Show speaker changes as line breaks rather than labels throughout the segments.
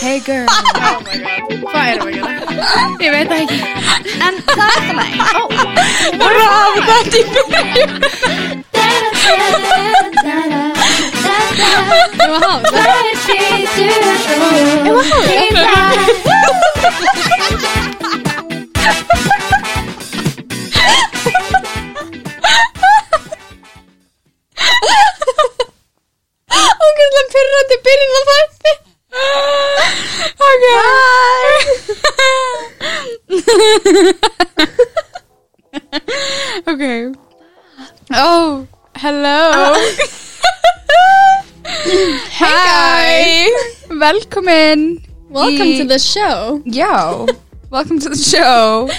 Hey girl
Oh my god, hvað erum við að gera?
Ég veit það ekki
En það er það læg
Bravo, þetta í byrjun
Það var hátt
Ógæðlega pyrrandi byrjun á þætti Ok Ok Oh, hello Hi Velkomin
Welcome
í-
to the show
Já, welcome to the show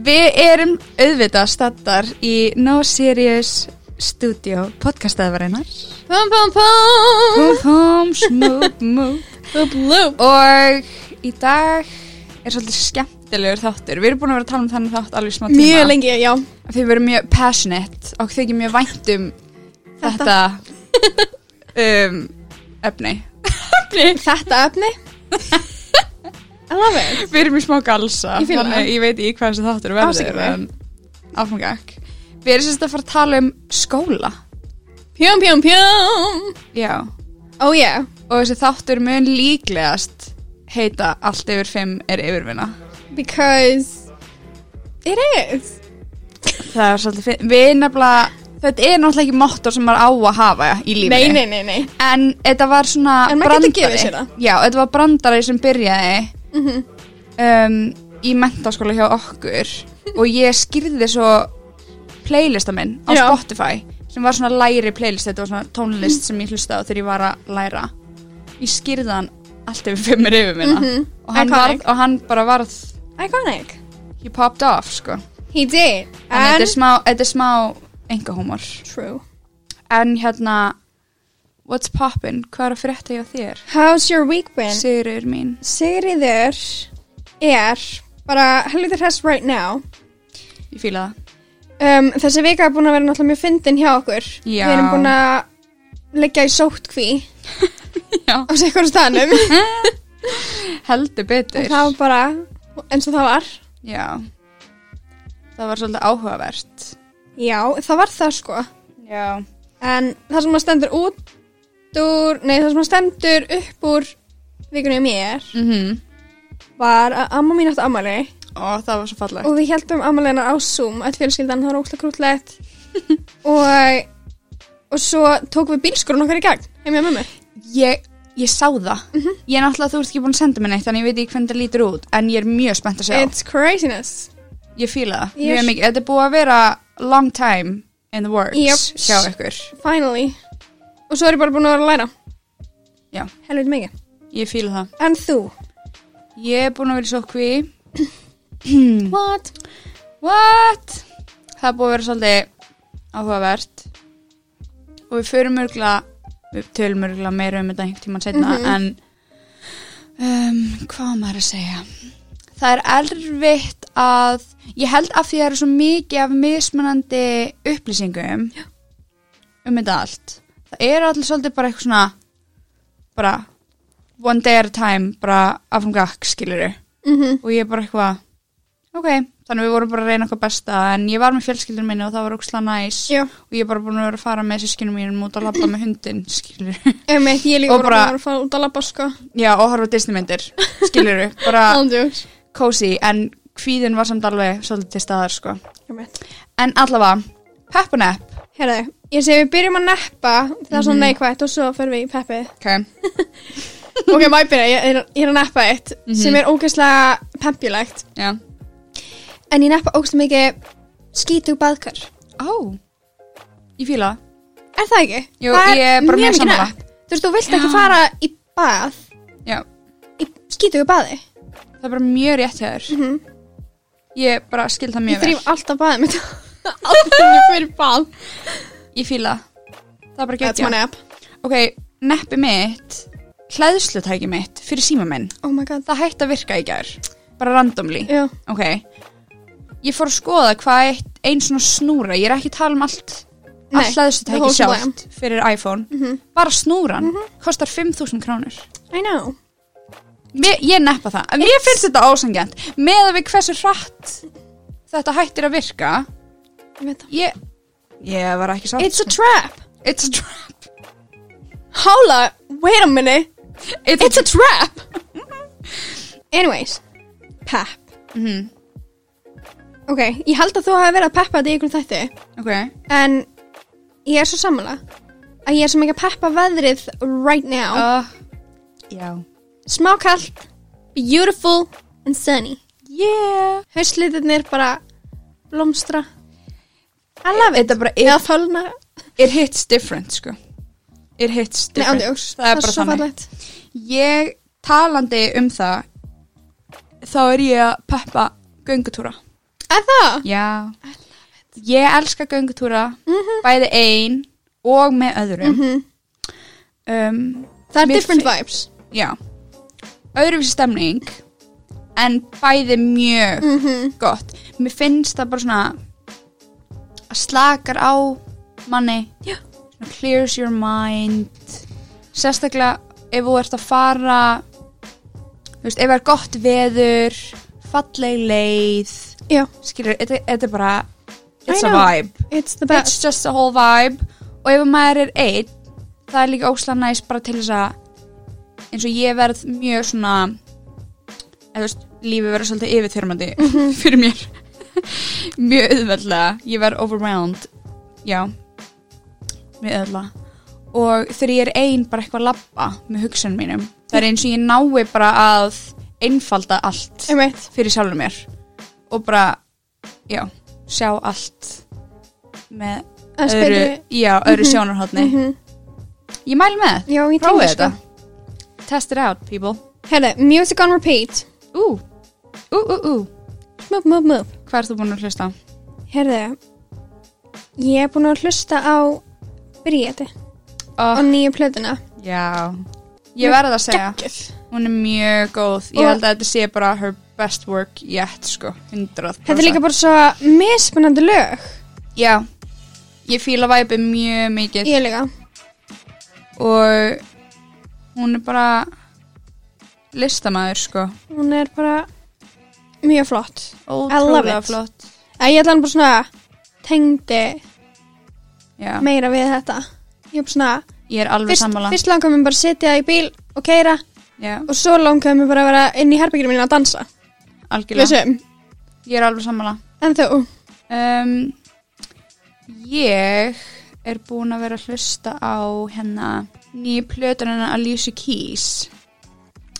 Við erum auðvitað staddar í No Serious Studio podcastaðvarinnar
Pum pum pum
Húm húm, smúb múb
Loop loop
Og í dag er svolítið skemmtilegur þáttur Við erum búin að vera að tala um þannig þátt alveg í smá tíma
Mjög lengi, já
Af Því við erum mjög passionate og þykir mjög vænt um þetta um, efni
Þetta efni I love it
Við erum í smá galsa
Ég fíla það.
Þannig ég veit ekki hvað þessi þáttur verður
Afsakið mig.
en Áfangak Við erum sérst að fara að tala um skóla
Pjum pjum pjum
Já
Oh yeah
Og þessi þáttur mun líklegast heita Allt yfir 5 er yfirvinna
Because It is
Það er svolítið finn Við erum nefnilega Þetta er náttúrulega ekki mottor sem maður á að hafa í lífinu
Nei, nei, nei, nei
En þetta var svona
En maður getur gefið sér það. Mhm.
Já, þetta var brandari sem byrjaði um, Í mentaskóla hjá okkur Og ég skýrði svo Playlista minn á
Já. Mhm.
Spotify Sem var svona læri playlist Þetta var svona tónlist sem ég hlustaði á þegar ég var að læra Ég skýrði hann Allt yfir fimmir yfir minna
Mhm.
og, hann
Iconic.
varð, og hann bara varð
Iconic
He popped off, sko
He did
En þetta er smá, þetta er smá engahúmor
True
En hérna What's poppin? Hvað er að frétta hjá þér?
How's your week been?
Sigurður mín
Sigriður er bara helvítið hress right now
Ég fíla það
um, Þessi vika er búin að vera náttúrulega mjög fyndin hjá okkur
Já.
Við erum búin að leggja í sótkví
Já.
á sikkur stanum og
Heldur betur
það var bara eins og það var
Já Það var svolítið áhugavert
Já, það var það sko
Já
en það sem að stendur út úr, nei það sem að stendur upp úr vikunni mér
mm
var að amma mín átti ammali
Og það var svo fallegt
og við heldum ammaliðina á Zoom öll fjölskyldan, það var óslega krútlegt og og svo tókum við bílskurinn okkar í gang heim ég með mér
Ég, ég sá það Ég er náttúrulega, þú ert ekki búin að senda mér neitt Þannig ég veit ekki hvernig það lítur út En ég er mjög spennt að sjá
It's craziness
Ég fíla það
Ég-
Mjög mikið Þetta er búið að vera long time in the works
Yep.
Hjá ykkur
Finally Og svo er ég bara búin að vera að læra
Já,
Helviti mikið
ég fíla það
En þú?
Ég er búin að vera í sókví
What?
What? Það er búið að vera svolítið áhugavert og við förum örgulega við tölum örgulega meira um þetta einhvern tímann setna en um, hvað á maður að segja það er erfitt að ég held að því það eru svo mikið af mismunandi upplýsingum um þetta allt það er allir svolítið bara eitthvað svona bara one day at a time bara afrungak skiluru
Mm
og ég bara eitthvað ok, þannig við vorum bara að reyna okkar besta en ég var með fjölskyldun minni og það var óksla næs
Já
og ég er bara búin að vera að fara með sískinum mínum út að labba með hundin, skilur
Ef mitt ég er líka
Og
bara
bara-
búin að vera að fara út að labba sko
já, og horfa á Disneymyndir, skilur bara
Ándjóks
cozy, en kvíðin var samt alveg svolítið til staðar, sko
Ég mitt
en allavega, pep and app
Herðu, ég segi við byrjum að neppa Það er
Mhm.
svona neikvætt og svo förum við í peppið
ok,
Ok, má ég byrja, ég er, ég er að neppa eitt
Mhm.
sem er ógeðslega peppjulegt
já
En ég neppa ógeðslega mikið skítug baðkar
ó, ég fíla það.
Er það ekki?
Jú,
það
ég er bara mjög
mikið
sammála.
nepp. Þú veist, þú vilt ekki
Já.
fara í bað
já,
í skítugu baði
það er bara mjög rétt hjá þér ég bara skil það
Mhm. Ég
mjög
þrýf alltaf baðið mitt Alltaf þegar ég fyrir bað
vel ég fíla það. það er bara
That's my
geggja
nap
ok, neppi mitt hlæðslutæki mitt fyrir síma minn
Oh my god
það hætti að virka í gær bara randomly
Já,
ok ég fór að skoða hvað eitt, ein svona snúra ég er ekki að tala um allt
Nei,
allt
the
hlæðslutæki
whole Mhm.
sjálft fyrir iPhone bara snúran kostar 5.000 krónur
I know
mér, ég neppa það, En mér finnst þetta ósangjant með að við hversu hratt þetta hættir að virka
Ég veit það.
ég, ég var ekki sátt
It's a trap
it's a trap
Hála, wait a minute
it's,
It's a trap Anyways Pep
Mm-hmm.
Ok, ég held að þú hafi verið að peppa þetta í ykkur þætti
ok,
En ég er svo sammála Að ég er sem ekki að peppa veðrið right now
uh, já
Smá kallt Beautiful and sunny
yeah
Hauslitirnir bara blómstra I love it
þetta bara
Eða
it,
fölna
it hits different sko it hits
Nei,
different
ándjóks
það er bara
svo
þannig
fallegt
ég talandi um það þá er ég að peppa göngutúra
Er það?
Já Ég elska göngutúra Bæði ein og með öðrum um,
Það er
Mér
different
fi-
vibes
Já Öðruvísi stemning En bæði mjög
Mm. Mhm.
gott Mér finnst það bara svona að slakar á manni
Já.
Svona Clears your mind Sérstaklega ef þú ert að fara þú veist, Ef það er gott veður Falleg leið
Já,
skilur, þetta þetta er bara it's a
I know.
vibe,
it's the
it's
best
just a whole vibe og ef maður er einn það er líka óslega næst bara til þess að eins og ég verð mjög svona eða þú veist, lífið verður svolítið yfirþyrmandi fyrir mér mjög auðveldlega, ég verð overwhelmed já mjög auðveldlega og þegar ég er ein bara eitthvað að labba með hugsunum mínum það er eins og ég nái bara að einfalda allt
Einmitt.
fyrir sjálfur mér og bara, já, sjá allt með
Aðeins
öðru,
betri-
já, öðru sjónarhóttni
Mhm.
ég mæli með,
Já, ég
prófið
tengi
þetta
sko
test it out, people
Herre, music on repeat
ú, ú, ú, ú,
Möp, möp, möp
hvað er þú búin að hlusta á?
Herre, ég er búin að hlusta á Bríði á
oh,
nýju plötuna
já, ég verð að segja
Geggjuð.
hún er mjög góð, ég
Og-
held að þetta sé bara her best work yet, sko 100%
Þetta er líka bara svo mismunandi lög
já, ég fíla væpið mjög mikið
Ég líka
og hún er bara listamaður sko
Hún er bara mjög flott Äh,
ótrúlega
it.
flott
Æ, Ég ætla hann bara svona tengdi
já,
meira við þetta Ég er bara svona
ég er alveg
Fyrst,
sammála
fyrst langar mér bara að sitja í bíl og keira
já,
og svo langar mér bara að vera inn í herbyggjum minna að dansa
algjörlega,
Vissum,
ég er alveg sammála
en þú
um, ég er búin að vera að hlusta á hérna nýju plötur hennar Alicia Keys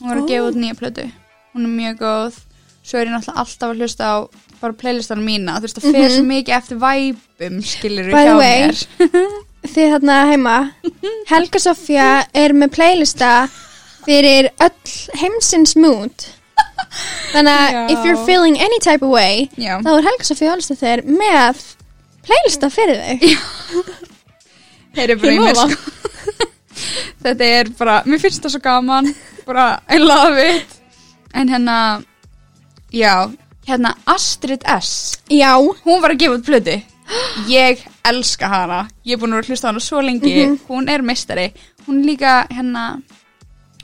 hún var að
Ó.
gefa út nýja plötu hún er mjög góð svo er ég náttúrulega alltaf að hlusta á bara playlistanum mína, þú veist það fer svo mikið eftir væpum skilur
Mhm. By the
hjá
way,
mér
þið þarna heima Helga Sofía er með playlista fyrir öll heimsins mood þannig
Já.
að if you're feeling any type of way
já.
þá er Helga Sofía alls þeir með playlista fyrir þig
Heyri bara
Ég
í mér
lofa.
sko. Þetta er bara, mér finnst það svo gaman bara, I love it En hérna Já, hérna Astrid S
Já,
Hún var að gefa út plöti Ég elska hana Ég er búin að vera að hlusta á hana svo lengi
Mhm.
Hún er mistari Hún er líka hérna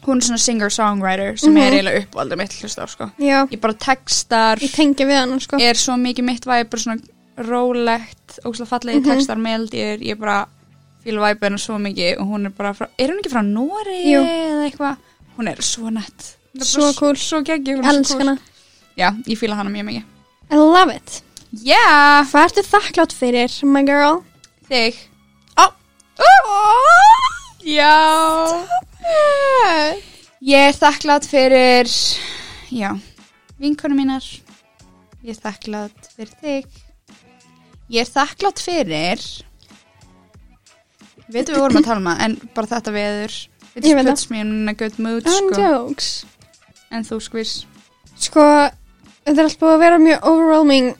Hún er svona singer-songwriter sem er eiginlega uppáaldið mitt að hlusta á sko
Mhm. já,
Ég bara textar
ég tengi við hann sko.
er svo mikið mitt væg bara svona rólegt, ógslag fallegi
Mhm.
textar meldir, ég bara fíla væpið hennar svo mikið og hún er bara frá, er hún ekki frá Nóri
Jú.
eða eitthvað hún er svo nett Hún er bara
Svo
s-
cool.
svo geggjum, hún
Ég
er svo
elska
cool.
hana
já, ég fíla hana mjög mikið
I love it
yeah,
Hvað ertu þakklátt fyrir, my girl?
þig
Ó.
Ó, já ég er þakklátt fyrir já, vinkonu mínar ég er þakklátt fyrir þig ég er þakklátt fyrir við veitum við vorum að tala um það en bara þetta veður it
Ég
just
veit það.
puts me in a good mood
And
sko.
jokes
en þú skvís
Sko, þetta er allt búið að vera mjög overwhelming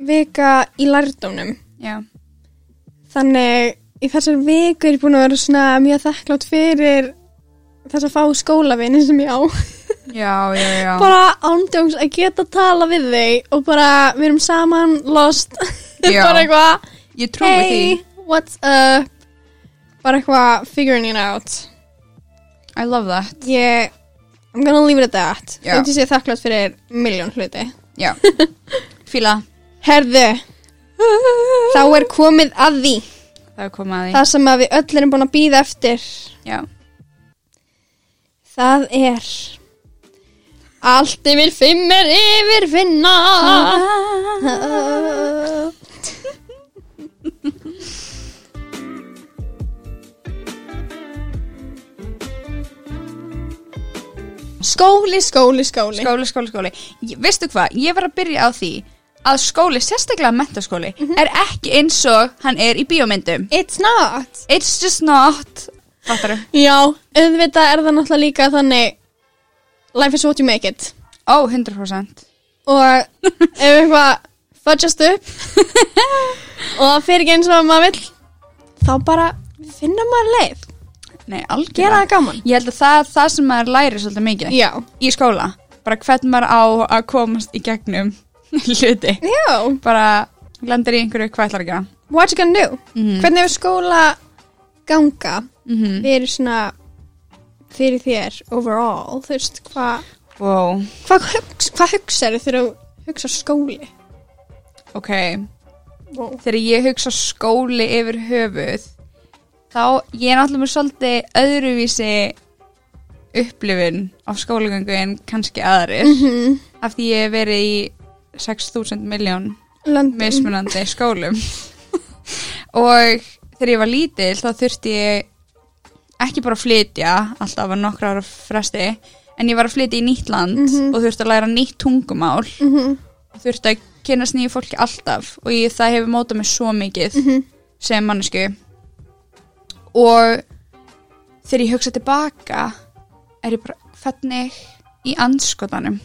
vika í lærdónum
já,
Þannig í þessar viku er ég búin að vera svona mjög þakklátt fyrir þess að fá skólavinni sem ég á.
já, já, já.
Bara ándjóngs að geta tala við þig og bara við erum saman, lost,
Já.
bara eitthvað,
ég trúi
hey, what's up, bara eitthvað figuring it out.
því I love that
Ég I'm gonna leave it at that
Já.
Þótt ég sé þakklátt fyrir miljón hluti
Já, fíla
Herðu, þá er komið að því
Það er komið að því
Það sem að við öll erum búin að býða eftir
Já,
Það er Allt yfir fimm er yfir finna Skóli, skóli, skóli
skóli, skóli, skóli Ég- Veistu hvað, ég var að byrja á því að skóli, sérstaklega mentaskóli
Mhm.
er ekki eins og hann er í bíómyndum
It's not
It's just not Fattaru?
Já, auðvitað er það náttúrulega líka þannig Life is what you make it
Ó, 100%
og ef eitthvað fudgast upp og það fyrir ekki eins og maður vill þá bara finna maður leið
Nei,
gera
algjörlega
það gaman
Ég held að það er það sem maður læri svolítið mikið
já,
í skóla bara hvernig maður á að komast í gegnum hluti
já,
bara lendir í einhverju hvað ætlar að gera
what you gonna do
Mhm.
hvernig hefur skóla ganga
mm -hmm.
fyrir svona fyrir þér overall þú veist hvað
wow,
hva, hug, hva hugsaðu þegar þú hugsa skóli
ok
wow.
þegar ég hugsa skóli yfir höfuð þá ég er náttúrulega með svolítið öðruvísi upplifun af skólagöngu en kannski aðrir af því ég hef verið í 6.000 miljón
löndum
mismunandi skólum og þegar ég var lítil þá þurfti ég ekki bara að flytja alltaf að nokkra ára fresti en ég var að flytja í nýtt land
Mhm.
og þurfti að læra nýtt tungumál
mm
og þurfti að kynast nýju fólki alltaf og ég, það hefur mótað mig svo mikið sem mannesku og þegar ég hugsa tilbaka er ég bara hvernig í anskotanum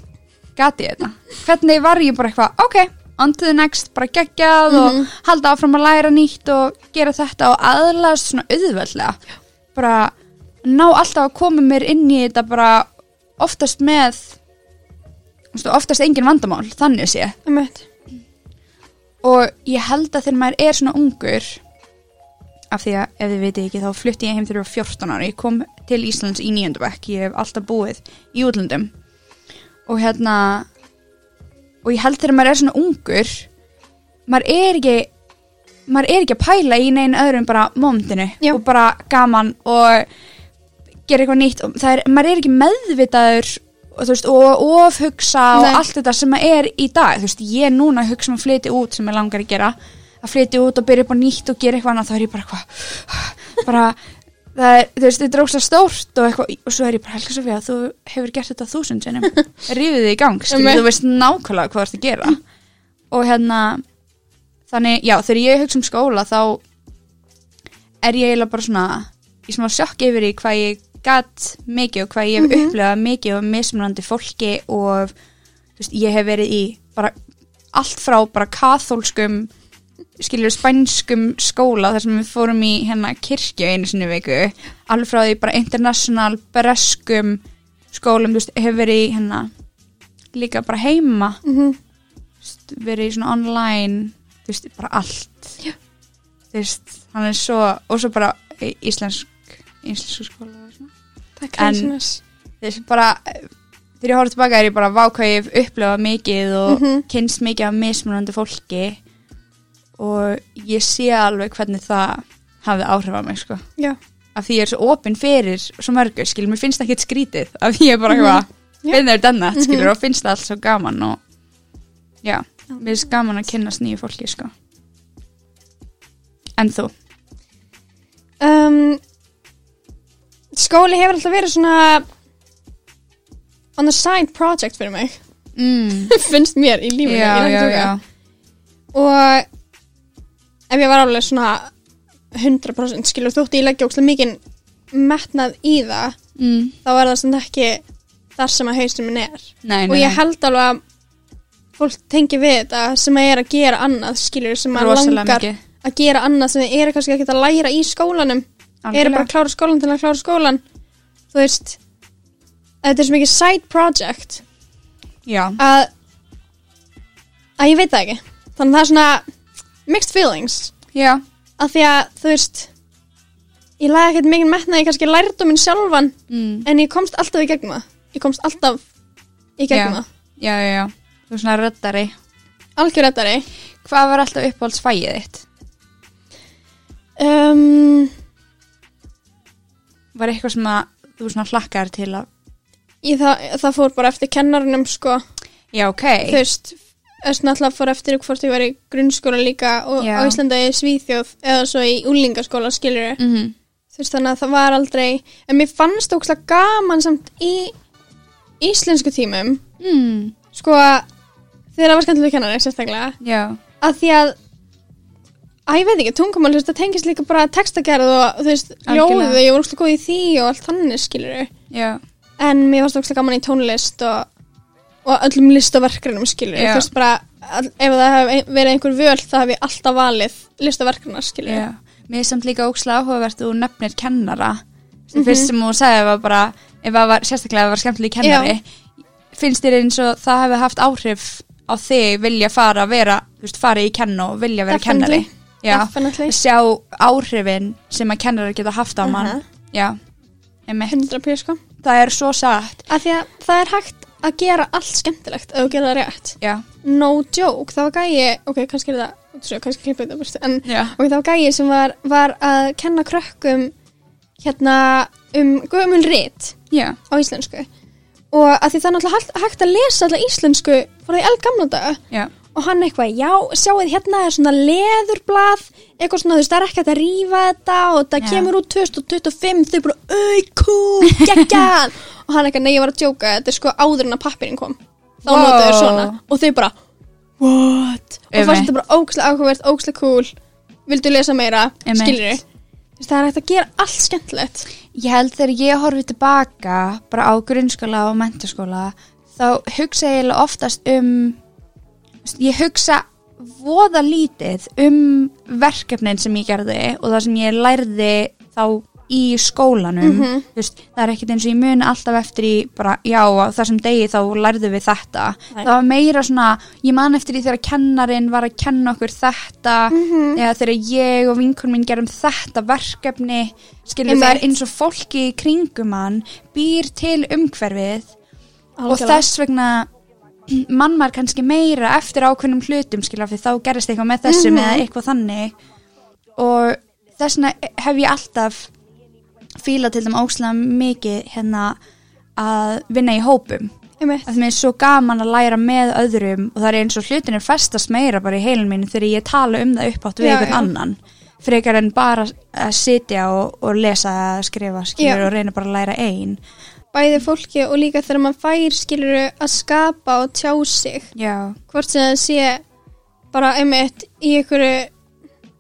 gati ég þetta hvernig var ég bara eitthvað ok, on to the next, bara geggjað og halda áfram að læra nýtt og gera þetta og aðlaðast svona auðveldlega bara ná alltaf að koma mér inn í þetta bara oftast með þú veist, oftast engin vandamál, þannig sé og ég held að þegar maður er svona ungur af því að ef þið veitir ekki þá flutti ég heim þegar ég var 14 ára ég kom til Íslands í nýjöndabæk ég hef alltaf búið í útlöndum og hérna og ég held þegar maður er svona ungur maður er ekki maður er ekki að pæla í neginn öðrum bara mómdinu
Já.
og bara gaman og gera eitthvað nýtt og það er, maður er ekki meðvitaður og, þú veist, og ofhugsa
Nei.
og allt þetta sem maður er í dag þú veist, ég er núna að hugsa um að flytja út sem ég langar að gera að flytja út og byrja upp á nýtt og gera eitthvað annað þá er ég bara eitthvað bara, það er, þú veist, þetta er ógst stórt og, eitthvað, og svo er ég bara helga svo fyrir að þú hefur gert þetta þúsund sinnum rífið þig í gang, skilur,
Einmitt.
þú veist nákvæmlega hvað þú ert að gera og hérna þannig, já, þegar ég hugsa um skóla þá er ég eiginlega bara svona í smá sjokk yfir í hvað ég gat mikið og hvað ég hef upplifað mikið og mismunandi fólki og þú veist, ég hef verið í bara allt frá bara kathólskum skilur spænskum skóla þar sem við fórum í hérna kirkju einu sinni í viku alveg frá því bara international breskum skólum, þú veist, hef verið í hérna líka bara heima veist, verið í svona online þú veist, bara allt
Já.
þú veist, hann er svo og svo bara í- íslensk íslensku skóla og svona.
takk
En-
fyrir sinnes
þú veist, bara eh, þegar ég horf tilbaka er ég bara vákvæði upplifa mikið og
Mhm.
kynst mikið af mismunandi fólki og ég sé alveg hvernig það hafði áhrif á mig, sko
já,
af því ég er svo opinn fyrir svo mörgu, skilur, mér finnst það ekkert skrítið af því ég er bara
Mhm.
eitthvað,
Já. Mhm.
finnur þetta annað, skilur og finnst það allt svo gaman og já, mér finnst gaman að kynnast nýju fólki, sko en þú
um, skóli hefur alltaf verið svona on the side project fyrir mig
mm.
finnst mér í lífinu ég
já,
er ekki
já,
að
já,
djóka. og ef ég var alveg svona 100% skilur þótti ég leggja ókslega mikinn metnað í það
mm.
þá er það sem ekki þar sem að haustum minn er
nei, nei,
og
nei.
ég held alveg að fólk tengi við þetta sem að er að gera annað skilur sem að
Rosalega
langar
mikið.
að gera annað sem þið eru kannski ekki að læra í skólanum eru bara að klára skólan til að klára skólan þú veist þetta er svo mikið side project
já,
að að ég veit það ekki þannig að það er svona mixed feelings
já,
af því að þú veist ég lagði ekkert mikið metna ég kannski lærdominn sjálfan
mm.
en ég komst alltaf í gegnum það ég komst alltaf í gegnum
Já. já, já, já, þú er svona röddari
það algjörðari
Hvað var alltaf uppáhaldsfæið þitt?
um,
Var eitthvað sem að þú svona hlakkar til að
ég, það, það fór bara eftir kennarinnum sko,
Já, ok,
þú veist þess náttúrulega fór eftir hvort ég var í grunnskóla líka og
Já.
á Íslanda í Svíþjóð eða svo í úlingaskóla skiljur
mm
þú veist þannig að það var aldrei en mér fannst ókslega gaman samt í íslensku tímum
mm.
sko þegar það var skemmtilega kennari sérstaklega
Já,
að því að að ég veit ekki, tungumál, þú veist, það tengist líka bara textagerð og þú veist,
Algjörlega.
ljóðu ég var ókslega góð í því og allt þannig skilur
já,
en mér varst ókslega gaman í tónlist og, og öllum listaverkrinum skilur
Já.
þú veist bara, að, ef það hef verið einhver völ þá hef ég alltaf valið listaverkrina skilur
já Mér er samt líka ókslega áhugavert þú nefnir kennara Sem fyrst sem þú sagði var bara ef það var, sérstaklega ef það var skemmtileg kennari finnst þér eins og það hefði haft áhrif á þig vilja fara að vera þú veist, fara í kenn og vilja vera
Definitely.
kennari Já,
Definitely.
sjá áhrifin sem að kennarar geta haft á mann
Mhm.
Já, emmi
100 pjö sko
Það er svo satt
að því að það er hægt að gera allt skemmtilegt ef þú gerir það rétt
Já,
no joke, það var gæi ok, kannski er það, útsjó, kannski klippið þetta burst en
já,
og það var gæi sem var, var að kenna krökkum hérna um gömul rit
já,
á íslensku og að því það er náttúrulega hægt- hægt að lesa alltaf íslensku frá því elgamla daga
já.
og hann eitthvað, já, sjáuð hérna er svona leðurblað, eitthvað svona þú veist, það er ekkert að rífa þetta og það
Já.
kemur út 2025, þau bara auku, geggan og hann eitthvað, nei, ég var að djóka, þetta er sko áður en að pappirinn kom, þá
Wow.
wow. notaðu þeir svona og þau bara, what og
Einmitt.
fannst þetta bara ókslega áhugavert, ókslega cool vildu lesa meira,
Einmitt.
skilur þau það er hægt að gera allt skemmtilegt
Ég held þegar ég horfi tilbaka bara á grunnskóla og mentaskóla þá hugsa ég eiginlega oftast um ég hugsa voða lítið um verkefnin sem ég gerði og það sem ég lærði þá í skólanum
Mhm.
Þú veist, það er ekkert eins og ég mun alltaf eftir í bara, já, á þessum degi þá lærðu við þetta
Nei.
það var meira svona, ég man eftir í þegar kennarin var að kenna okkur þetta
Mhm.
eða þegar ég og vinkunum minn gerum þetta verkefni skilur það er
Einmitt.
eins og fólki í kringum hann býr til umhverfið og
Algjörlega.
þess vegna mann maður kannski meira eftir ákveðnum hlutum skilja fyrir þá gerist eitthvað með þessum
Mhm.
eða eitthvað þannig og þess vegna hef ég alltaf fílað til þeim óslega mikið hérna að vinna í hópum
Einmitt.
að það er svo gaman að læra með öðrum og það er eins og hlutinir festast meira bara í heilin mín þegar ég tala um það upp átt við
Já,
einhvern
já.
annan frekar en bara að sitja og, og lesa eða skrifa skilur
Já.
og reyna bara að læra ein
bæði fólki og líka þegar maður fær skilur að skapa og tjá sig
já,
hvort sem það sé bara einmitt í einhverju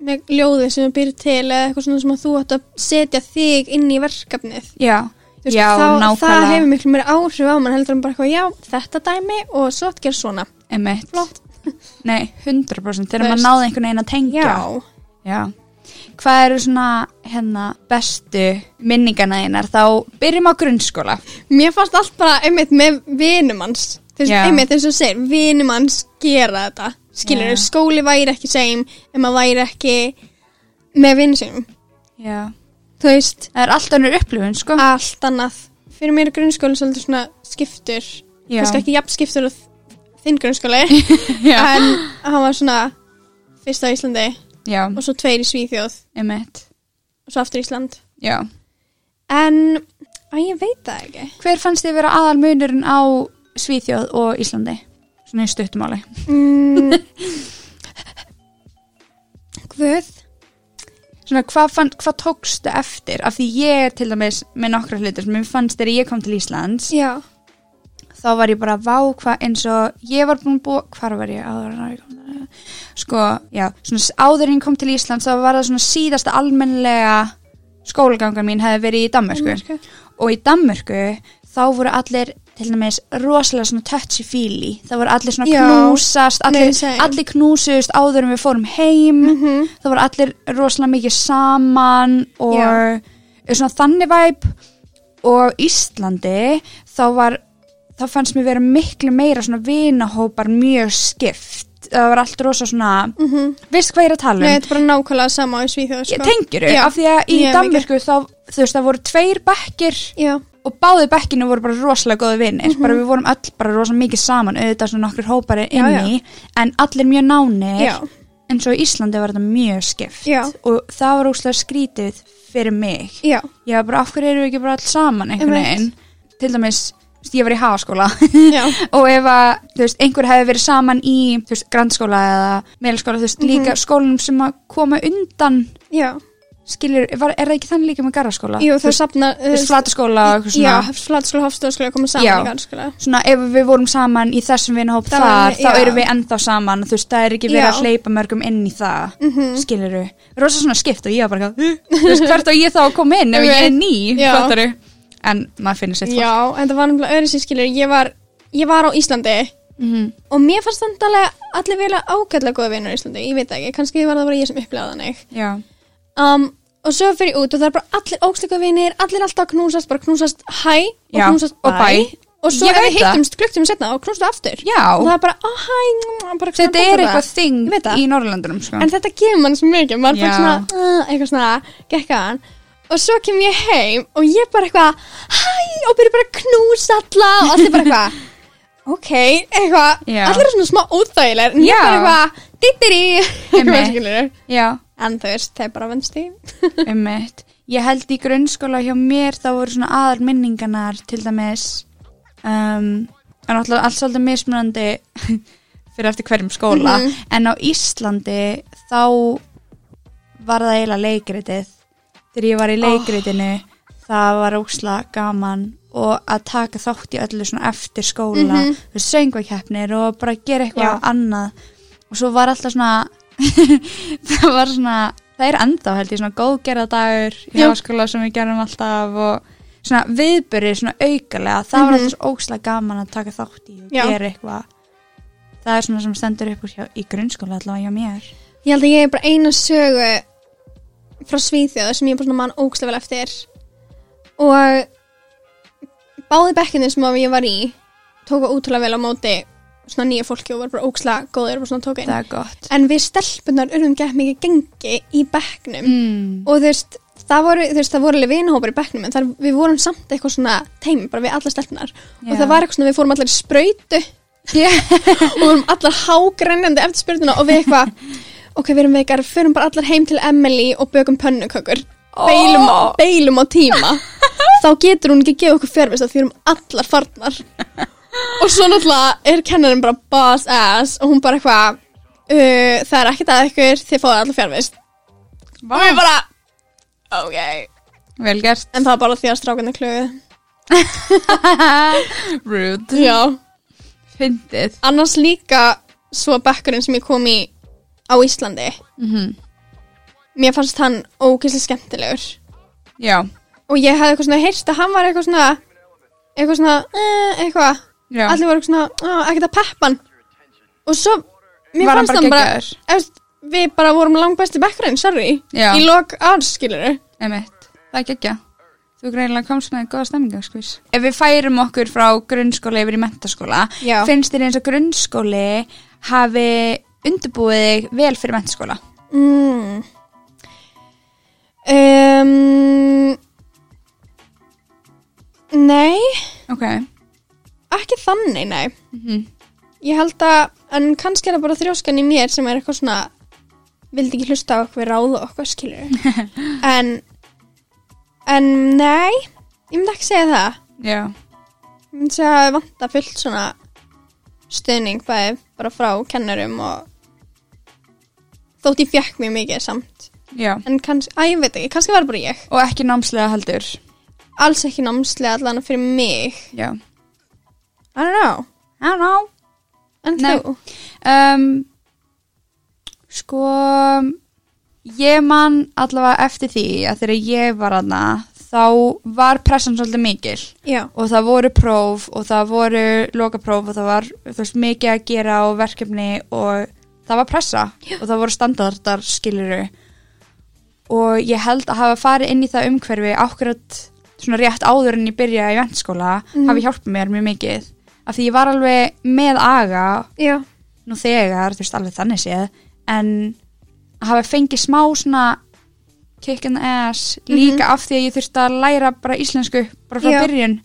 með ljóði sem þú býr til eða eitthvað svona sem að þú ætti að setja þig inn í verkefnið
já,
Þú veist,
já
þá, það
nákvæmlega
hefur miklu meira áhrif á mann heldur en bara eitthvað já, þetta dæmi og svo að gera svona
Einmitt.
Flott.
Nei, 100% þegar
Þú
maður
veist.
náði einhvern veginn að tengja. Já. Hvað eru svona hérna, bestu minningana einar? Þá byrjum á grunnskóla.
mér fannst allt bara einmitt með vinum hans Þú veist,
Já.
einmitt eins og þú segir, vinum hans gera þetta skilur,
Já.
skóli væri ekki segjum en maður væri ekki með vinum sínum
Já.
þú veist,
Það er allt önnur upplifun, sko.
allt annað fyrir mér er grunnskóli svolítið svona skiptur
Já.
kannski ekki jafn skiptur og þinn grunnskóli
Já.
en hann var svona fyrst á Íslandi
Já,
og svo tveir í Svíþjóð
einmitt.
og svo aftur Ísland
Já.
en að ég veit það ekki
Hver fannst þið vera aðal munurinn á Svíþjóð og Íslandi? Svona í stuttumáli.
mm. Guð
Svona hvað, fann, hvað tókstu eftir? Af því ég er til dæmis með nokkra hlutir sem mér fannst þegar ég kom til Íslands.
já,
þá var ég bara vá hvað eins og ég var búin að búa, hvar var ég áður en ég kom til sko, já, svona s- áður en ég kom til Íslands þá var það svona síðasta almennlega skólagangan mín hefði verið í Danmörku
Danmörku.
og í Danmörku þá voru allir til dæmis rosalega svona touchy-feely þá voru allir svona
Já.
knúsast allir,
Nei, same. Mhm.
allir knúsust áður en við fórum heim þá voru allir rosalega mikið saman og
Já.
svona þannig væp og Íslandi þá var þá fannst mér vera miklu meira svona vinahópar mjög skipt veist, það var allt rosa svona veist hvað ég er að tala um
Mhm. Nei, þetta er bara nákvæmlega sama í Svíþjóð, sko.
ég tengir þau,
Já.
af því að í
Mjög
Danmörku þá, þú veist, það voru tveir bekkir
Já,
og báði bekkinu voru bara rosalega góði vinnir,
Mhm.
bara við vorum öll bara rosalega mikið saman, auðvitað svona nokkur hópar er
Já, já.
inni, en allir mjög nánir
já,
en svo í Íslandi var þetta mjög skipt
Já.
og það var óslega skrítið fyrir mig,
já,
ég var bara af hverju erum við ekki bara alls saman einhvern
Einmitt.
veginn til dæmis, þú veist, ég var í hagaskóla
já,
og ef að, þú veist, einhver hefði verið saman í, þú veist, grandskóla eða meðalskóla, þú veist,
Mhm.
líka skólanum sem að koma undan,
já.
skilur, var, er það ekki þannig líka með garðaskóla?
Jú,
Ah, þú
það
veist,
sapna...
þú veist, flataskóla og eitthvað
Já,
svona.
flatskóla, hafstóðskóla koma saman
Já.
í garðskóla.
Svona ef við vorum saman í þessum vinahóp
Það
þar,
var-
þá
já.
erum við ennþá saman, þú veist, það er ekki verið
Já. Mhm.
að hleypa mörgum inn í það, mm -hmm. skilur Rosa svona skipt og ég var bara, eitthvað, "Huh, þú veist, hvert á ég þá að koma inn ef ég er ný,
Já.
fattar En maður finnir sitt fólk.
Já, en það var nefnilega öðru sér skilur. Ég var, ég var á Íslandi
Mhm.
og mér fannst þannig alveg allir vilja ágætlega góða vinnur á Íslandi. Ég veit það ekki, kannski var það bara ég sem upplegaði þannig.
Já.
um, og svo fyrir ég út og það er bara allir ógsleika vinir, allir alltaf að knúsast bara knúsast hæ og
Já,
knúsast
og bæ.
og svo
Ég
ef
veit
við
það.
hittumst klukktum setna og knúsast aftur
Já.
og það er bara, ah hæ mm, bara
Þetta
svona
er
bla, bla, bla.
eitthvað þing
Ég veit það.
í Norrlandunum, sko.
en þetta gefur mann svo mikið, maður er bara
Já.
svona uh, eitthvað svona, gekkaðan og svo kem ég heim og ég bara eitthvað hæ og byrja bara að knúsa alla og allir bara eitthvað ok, eitthvað,
Já.
allir eru svona smá óþægilegar en ég
Já.
bara eitthvað, dittiri
Einmitt.
eitthvað skilur
Já,
en þú veist, það er bara vennst í
ummitt. Ég held í grunnskóla hjá mér þá voru svona aðal minningarnar til dæmis um, en alltaf allt svolítið mismunandi fyrir eftir hverjum skóla
Mhm.
en á Íslandi þá var það eiginlega leikritið þegar ég var í leikritinu það var ósla gaman og að taka þátt í öllu svona eftir skóla mm
Mhm.
-hmm. við söngvakeppnir og bara gera eitthvað
Já.
annað og svo var alltaf svona það var svona það er enda held ég svona góðgerðadagur í
Já.
háskóla sem við gerum alltaf og svona viðbyrðir svona aukalega það var
Mhm.
alltaf svo ókslega gaman að taka þátt í og
Já.
gera eitthvað það er svona sem stendur upp úr hjá, í grunnskóla allavega hjá mér
Ég held að ég er bara eina sögu frá Svíþjóð sem ég er bara svona mann ógstlega vel eftir og báði bekkinni sem að ég var í tóka útrúlega vel á móti svona nýja fólki og var bara ógstlega góður og bara svona tóka inn
það er gott
en við stelpunar urðum gett mikið gengi í bekknum
mm.
og þú veist það voru, þú veist, það voru alveg vinahópar í bekknum en þar, við vorum samt eitthvað svona teimi bara við alla stelpunar
Já.
og það var eitthvað svona við fórum allar í sprautu og við vorum allar hágrænjandi eftir sprautuna og við eitthvað ok, við erum veikar, förum bara allar heim til Emily og bökum pönnukökur beilum,
Ó.
beilum á tíma þá getur hún ekki að gefa okkur fjárvist að því við erum allar farnar og svo náttúrulega er kennarinn bara boss ass og hún bara eitthvað uh, það er ekkert að ykkur, þið fáið allar fjárvist og við bara ok,
vel gert
en það var bara því að strákunni klögu
rude
já,
fyndið
annars líka svo bekkurinn sem ég kom í á Íslandi
mm -hmm.
mér fannst hann ógeðslega skemmtilegur
já,
og ég hafði eitthvað svona heyrst að hann var eitthvað svona eitthvað svona, eh, eitthvað
já.
allir voru eitthvað svona, "Ah, ekkert að peppa hann og svo, mér
Var hann
fannst
bara
hann bara,
geggjaður?
eftir, við bara vorum langbæsti bekkurinn, sorry
Já.
í lok árs, skilur
Emitt, það er gekkja. Þú greinilega komst með góða stemminga, skvís. Ef við færum okkur frá grunnskóla yfir í mentaskóla,
Já.
finnst þér eins og grunnskóli hafi undirbúið þig vel fyrir mentaskóla?
Mm. Um, nei,
Ok.
ekki þannig, nei.
Mm
Ég held að, en kannski er það bara þrjóskan í mér sem er eitthvað svona, vildi ekki hlusta á okkur ráða okkur, skilur. en, en nei, ég myndi ekki segja það.
Já.
Ég myndi segja að vanta fullt svona stuðning bæði bara frá kennurum og þótt ég fjökk mjög mikið samt.
Já.
En kannski, að ég veit ekki, kannski var það bara ég.
Og ekki námslega heldur.
alls ekki námslega allan fyrir mig
Já.
I don't know
I don't know.
en
Nei.
þú
Um, sko, ég man allavega eftir því að þegar ég var aðna, þá var pressan svolítið mikil.
já,
og það voru próf og það voru lokapróf og það var þú veist, mikið að gera og verkefni og það var pressa og það voru standardar skiluru og ég held að hafa farið inn í það umhverfi akkurat svona rétt áður en ég byrjaði í ventskóla hafi hjálpað mér mjög mikið af því ég var alveg með aga
já,
nú þegar, þú veist, alveg þannig séð en að hafa fengið smá svona kick in the ass líka af því að ég þurfti að læra bara íslensku bara frá
Já.
byrjun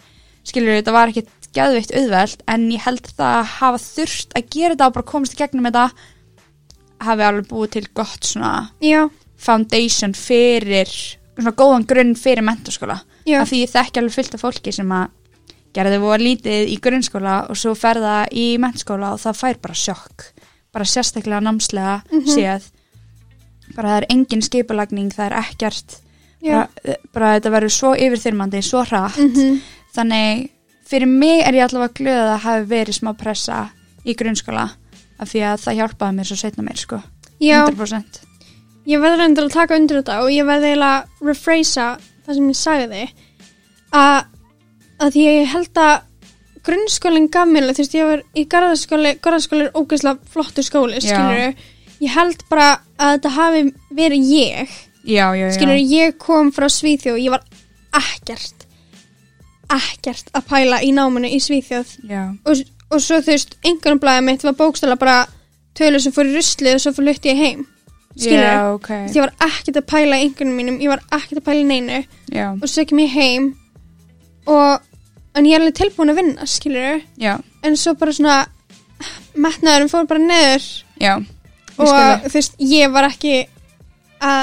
skilur þetta var ekkit geðveitt auðvelt en ég held það að hafa þurft að gera þetta og bara komast í gegnum þetta hafi alveg búið til gott svona
já,
foundation fyrir svona góðan grunn fyrir mentaskóla
Já.
af því ég þekki alveg fullt af fólki sem að gerði voru lítið í grunnskóla og svo ferða í mentaskóla og það fær bara sjokk bara sérstaklega námslega
Mhm.
séð bara það er engin skipulagning það er ekkert
já,
bara, eh, bara þetta verður svo yfirþyrmandi, svo hratt
Mhm.
þannig fyrir mig er ég allavega glöð að það hafi verið smá pressa í grunnskóla af því að það hjálpaði mér svo setna mér sko,
já.
100%
Ég verður endur að taka undir þetta og ég verður eiginlega að rephrasa það sem ég sagði að, að því að ég held að grunnskólinn gaf mér, alveg, þú veist, ég var í garðaskóli, garðaskóli er ógeðslega flottur skóli,
Já.
skilur ég held bara að þetta hafi verið ég,
já, já, já.
skilur ég kom frá Svíþjóð, ég var ekkert ekkert að pæla í náminu í Svíþjóð
Já,
og, og svo þú veist, einhvern blæði mitt var bókstæla bara tölur sem fór í ruslið og svo fór lutt ég heim skilur
já, ok
Þú veist, ég var ekkert að pæla í einhvernum mínum, ég var ekkert að pæla í neinu
já,
og svo kem ég heim og, en ég er alveg tilbúin að vinna, skilur
já,
en svo bara svona metnaðurum fór bara neður
já Ég skil
og þú veist, ég var ekki að,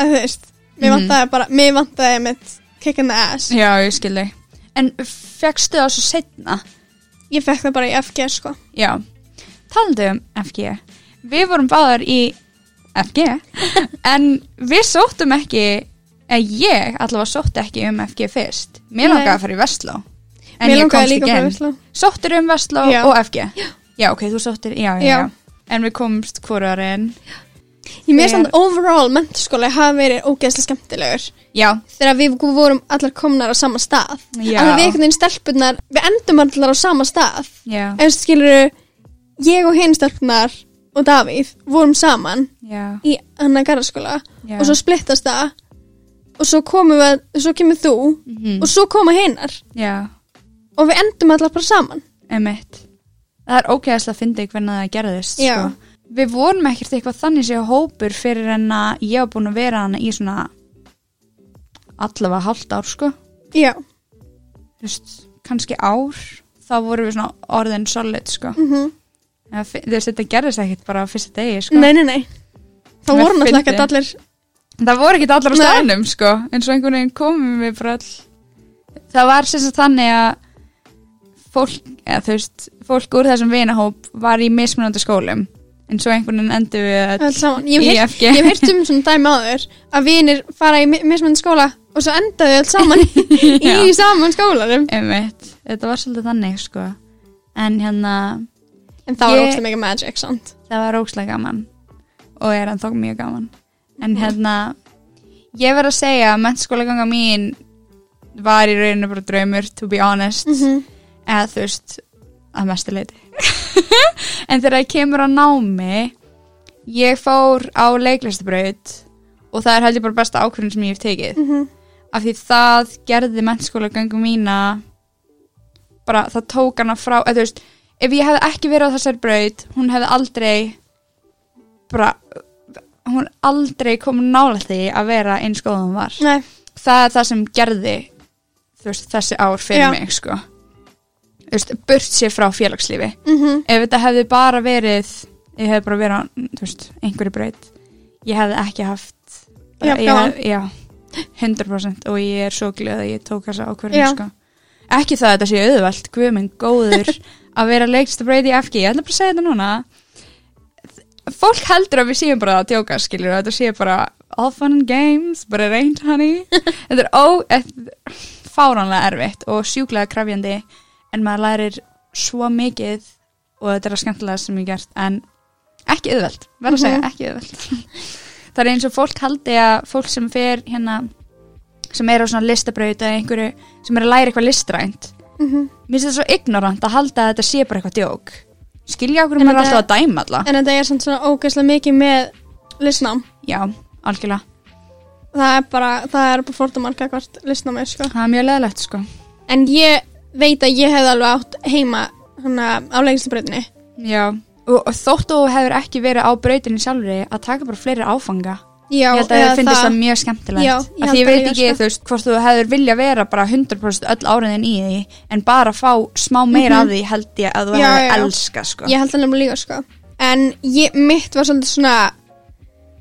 að þú veist mér
Mhm.
vantaði bara, mér vantaði mitt kick in the ass,
þig. Já, ég skil þig En fegstu það svo setna?
ég fekk það bara í FG sko,
Já Talandi um FG Við vorum báðar í FG En við sóttum ekki eða ég allavega sótti ekki um FG fyrst Mér
Nei.
langaði að fara í Vestló En
mér
ég
langaði
komst
líka
ekki
frá
inn.
Vestló
Sóttir um Vestló
Já.
og FG já. ok, þú sóttir, já, já, já,
Já.
En við komst hvorarinn
ég mér
Þegar-
samt overall mentaskóla hafa verið ógeðslega skemmtilegur
Já,
þegar við vorum allar komnar á sama stað
Já.
að við einhvern veginn stelpunar við endum allar á sama stað
já,
en skilur ég og hinn stelpunar og Davíð vorum saman
já,
í annan garðaskóla
já
og svo splittast það og svo, komum við, svo kemur þú
Mhm.
og svo koma hinnar
Já,
og við endum allar bara saman
Emitt. Það er ógeðslega að fyndi hvernig það gerðist,
Já.
sko. Við vorum ekkert eitthvað þannig séu hópur fyrir en að ég var búin að vera hana í svona allavega halvt ár, sko.
já,
Þú veist, kannski ár, þá vorum við svona orðin solid, sko.
mm
Eða fi- Þú veist, þetta gerðist ekkert bara á fyrsta degi, sko.
nei, nei, nei þá
Það
voru náttúrulega
fyndi.
ekki allir
Það voru ekkert allar á
Nei.
staðnum, sko. En svo einhvern veginn komum við bara all... Það var sem sagt þannig að fólk, eða þú veist, fólk úr þessum vinahóp var í mismunandi skólum. En svo einhvern veginn endur við að
öll saman ég
í
hef heyrt-
FG.
ég hef heyrt um svona dæmi áður að vinir fara í mi- mismunandi skóla og svo endaðu öll saman í, í saman skólanum
Einmitt, þetta var svolítið þannig sko En hérna,
En það var
Ég-
óslega mikið magic, sant?
það var ókslega gaman Og er ennþá mjög gaman En hérna, ég verð að segja að mennskólaganga mín Var í rauninu bara draumur, to be honest Eða þú veist, að mestu leiti En þegar ég kemur á námi Ég fór á leiklistabraut Og það er heldur bara besta ákvörðin sem ég hef tekið af því það gerði mennskólagöngu mína bara það tók hana frá eða þú veist, ef ég hefði ekki verið á þessari braut hún hefði aldrei bara hún aldrei kom nála því að vera eins góð og hún var
Nei,
það er það sem gerði þú veist, þessi ár fyrir
Já.
mig sko. þú veist, burt sér frá félagslífi
mm
ef þetta hefði bara verið ég hefði bara verið á, þú veist, einhverju braut ég hefði ekki haft bara,
Jafn
ég
gaman.
hef, já, 100% og ég er svo glöð að ég tók þessa
Já.
ákverðin sko. ekki það að þetta sé auðvelt guð minn góður að vera leikst braut í FG, ég ætla bara að segja þetta núna fólk heldur að við séum bara að djóka skilur, þetta sé bara all fun and games, but it ain't honey þetta er ó, þetta er fáránlega erfitt og sjúklega krafjandi en maður lærir svo mikið og þetta er að skemmtilega sem ég hef gert en ekki auðvelt, verð að segja
Mhm.
ekki auðvelt það er eins og fólk haldi að fólk sem fer hérna sem er á svona listabraut eða einhverju sem er að læra eitthvað listrænt
mhm.
mér finnst þetta svo ignorant að halda að þetta sé bara eitthvað djók skilja okkur
En
maður er
þetta-
alltaf að dæma alla
En þetta er samt svona ógeðslega mikið með listnám.
já, algjörlega,
Það er bara, það er bara fórtumarka hvort listnámi, sko.
það er mjög leðilegt sko
En ég veit að ég hefði alveg átt heima hana, á leginslibreytinni.
já, og og, og þótt og hefur ekki verið á brautinu sjálfri að taka bara fleiri áfanga
Já,
ég held að
eða
það finnist það mjög skemmtilegt
Já, ég
af
held
því ég
það
veit
líka,
ekki,
sko.
þú veist, hvort þú hefur vilja vera bara 100% öll áriðin í því en bara fá smá meira af því held ég að þú
Mhm. Já,
hefur
já, já.
elska sko.
Ég held það nefnilega líka sko En ég, mitt var svolítið svona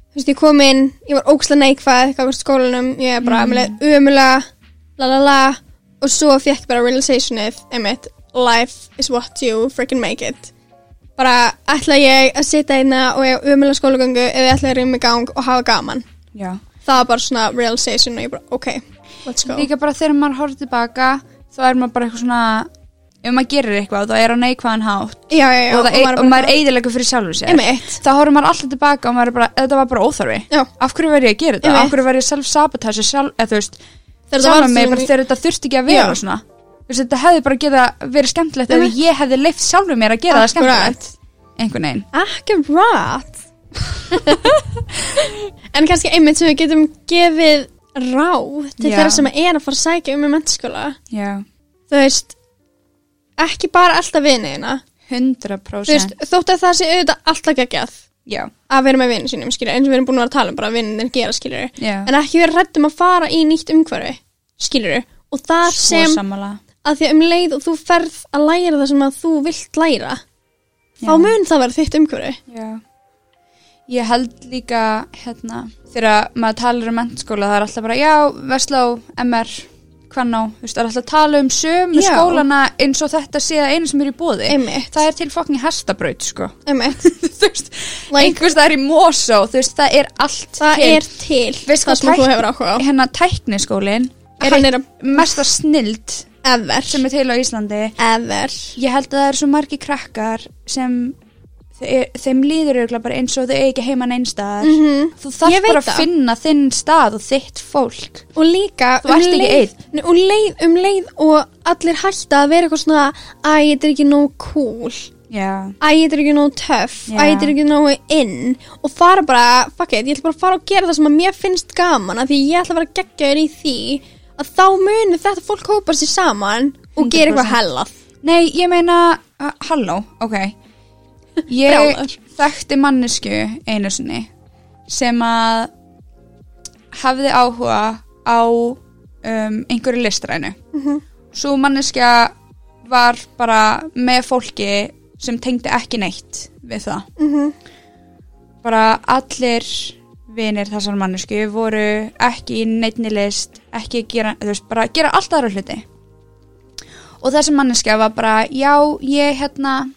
Þú veist, ég kom inn Ég var ókslega neikvæð eitthvað á skólanum Ég er bara mm. ömulega La la la Og svo fekk bara realizationið Einmitt, life is what you freaking make it Bara ætla ég að sitja einna og ég ömulega skólagöngu Eða ætla ég að rýma í gang og hafa gaman
Já.
Það var bara svona realization og ég bara, ok, let's go
líka bara þegar maður horfður tilbaka þá er maður bara eitthvað svona ef maður gerir eitthvað þá er á neikvæðan hátt
Já, já, já
og, það, og,
bara
og maður
eitthvað-
er eidilega fyrir sjálfur sér
Einmitt,
þá horfður maður alltaf tilbaka og maður er bara, þetta var bara óþarfi
já
af hverju var ég að gera
Ég
þetta,
veit.
af hverju var ég self-sabotage sjálf, eða þú veist,
Þegar það var
sjálf mig
svona-
bara þegar þetta þurfti ekki að vera
Já.
svona þú veist, þetta hefði bara geta verið skemmtilegt
Ég
ef
veit.
ég hefði leift sjálfur mér að gera það
Akkurat.
skemmtilegt einhvern veginn,
Akkurat En kannski einmitt sem við getum gefið ráð til
Já.
þeirra sem er að fara að sækja um í mennskóla
já,
Þú veist, ekki bara alltaf viniðina Þú veist,
100%
þótt að það sé auðvitað alltaf geggjað
já,
að vera með vinið sínum, skilur, eins og við erum búin að vera að tala um bara vinið gera, skilur
já,
En ekki vera rættum að fara í nýtt umhverfi, skilur Og það
svo
sem,
sammála
að því að um leið og þú ferð að læra það sem að þú vilt læra Þá
Já.
mun það vera þitt umhverfi
Já. Ég held líka hérna, þegar maður talar um mennskóla það er alltaf bara, já, Vestló, MR Hvannó, þú veist, það er alltaf að tala um sömu
Já.
skólana eins og þetta sé að einu sem er í bóði
Einmitt,
það er til fokkin hestabraut, sko
einmitt
þú veist,
Like-
einhvers það er í Mosó þú veist, það er allt
Það
til
er til
Veist
það
hvað
sem þú
tækni-
hefur áhuga á
hérna tækniskólin er
Hann er að
mesta snild
ever
sem er til á Íslandi
Ever
ég held að það eru svo margi krakkar sem þe- þeim líður auðvitað bara eins og þau eigi ekki heima neinstaðar mm -hmm. þú
Ég
þarf
veit
bara að
það.
finna þinn stað og þitt fólk
Og líka um
Þú ert ekki
leið, Nei, og leið um leið og allir hætta að vera eitthvað svona Æ, þetta er ekki nóg cool
já,
Æ, þetta er ekki nóg töff
Já.
Æ, þetta er ekki nóg inn Og fara bara, fuck it, ég ætla bara að fara og gera það sem að mér finnst gaman af Því ég ætla að vera geggjaður í því Að þá muni þetta fólk hópa sér saman Og gera
100%.
eitthvað hellað
nei, ég meina uh, halló, ok ég
Brjálar.
þekkti mannesku einu sinni sem að hafði áhuga á um, einhverju listrænu svo manneskja var bara með fólki sem tengdi ekki neitt við það bara allir vinir þessar mannesku voru ekki í neittni list ekki að gera, þú veist, bara að gera allt aðra hluti og þessi manneska var bara já, ég hérna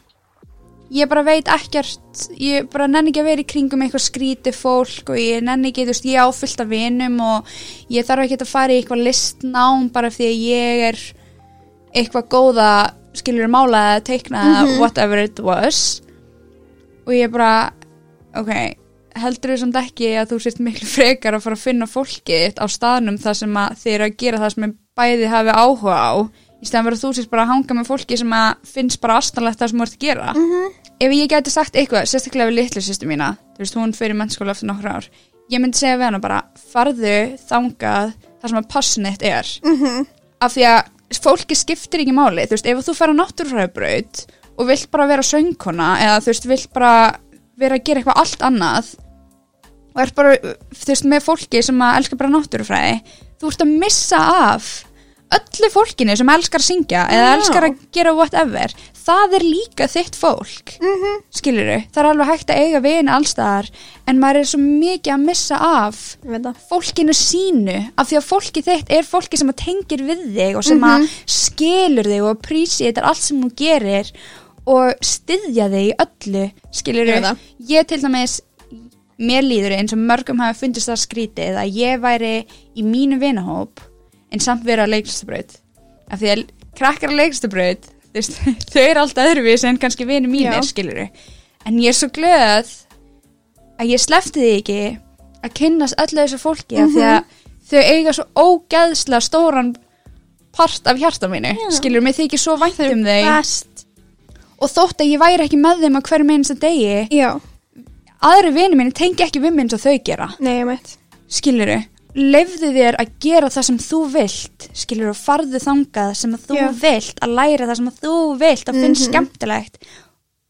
ég bara veit ekkert ég bara nenni ekki að vera í kringum eitthvað skríti fólk og ég nenni ekki, þú veist, ég á fullt af vinum og ég þarf ekki að fara í eitthvað listnám bara af því að ég er eitthvað góða skilur mála eða teikna mm whatever it was og ég bara, ok heldur þú samt ekki að þú sért miklu frekar að fara að finna fólkið þitt á staðnum þar sem að þið eru að gera það sem bæði hafi áhuga á í stæðan verður þú sért bara að hanga með fólki sem að finnst bara astanlegt það sem þú ert að gera -hmm. ef ég gæti sagt eitthvað, sérstaklega við litlu sýstu mína, þú veist hún fyrir mennskóla eftir nokkur ár, ég myndi segja við hana bara farðu þangað þar sem að passionate er af því að fólki skiptir ekki máli þú veist, ef þú fer á náttúrfræðabraut og vilt bara vera söngkona eða þú veist, vilt bara vera að gera eitthvað allt annað og ert bara, þú veist, með fólki sem að elskar bara náttúrufræði þú ert að missa af öllu fólkinu sem elskar að syngja eða
Já.
elskar að gera whatever það er líka þitt fólk mm -hmm. það er alveg hægt að eiga vini allstaðar en maður er svo mikið að missa af
Ég veit það
fólkinu sínu af því að fólki þitt er fólki sem að tengir við þig og sem
Mhm.
að skilur þig og prísi þetta er allt sem hún gerir og styðja þig í öllu skilur
Ég veit það.
ég til dæmis mér líður eins og mörgum hafa fundist það skrítið að ég væri í mínu vinahóp en samt vera á leiklistabraut af því að krakkar á leiklistabraut þú veist, þau eru allt öðruvís en kannski vini mínir
Já.
skilur en ég er svo glöð að ég slefti því ekki að kynnast öllu þessu fólki af því að þau eiga svo ógeðslega stóran part af hjarta mínu skilur mig þykir svo vænt um þau
Best
og þótt að ég væri ekki með þeim á hverjum einasta degi
Já,
aðri vini mínu tengi ekki við minn eins og þau gera
nei, ég veit
skiluru, lefðu þér að gera það sem þú vilt, skiluru, farðu þangað sem að þú
Já. Mhm.
vilt, að læra það sem að þú vilt, að finnst skemmtilegt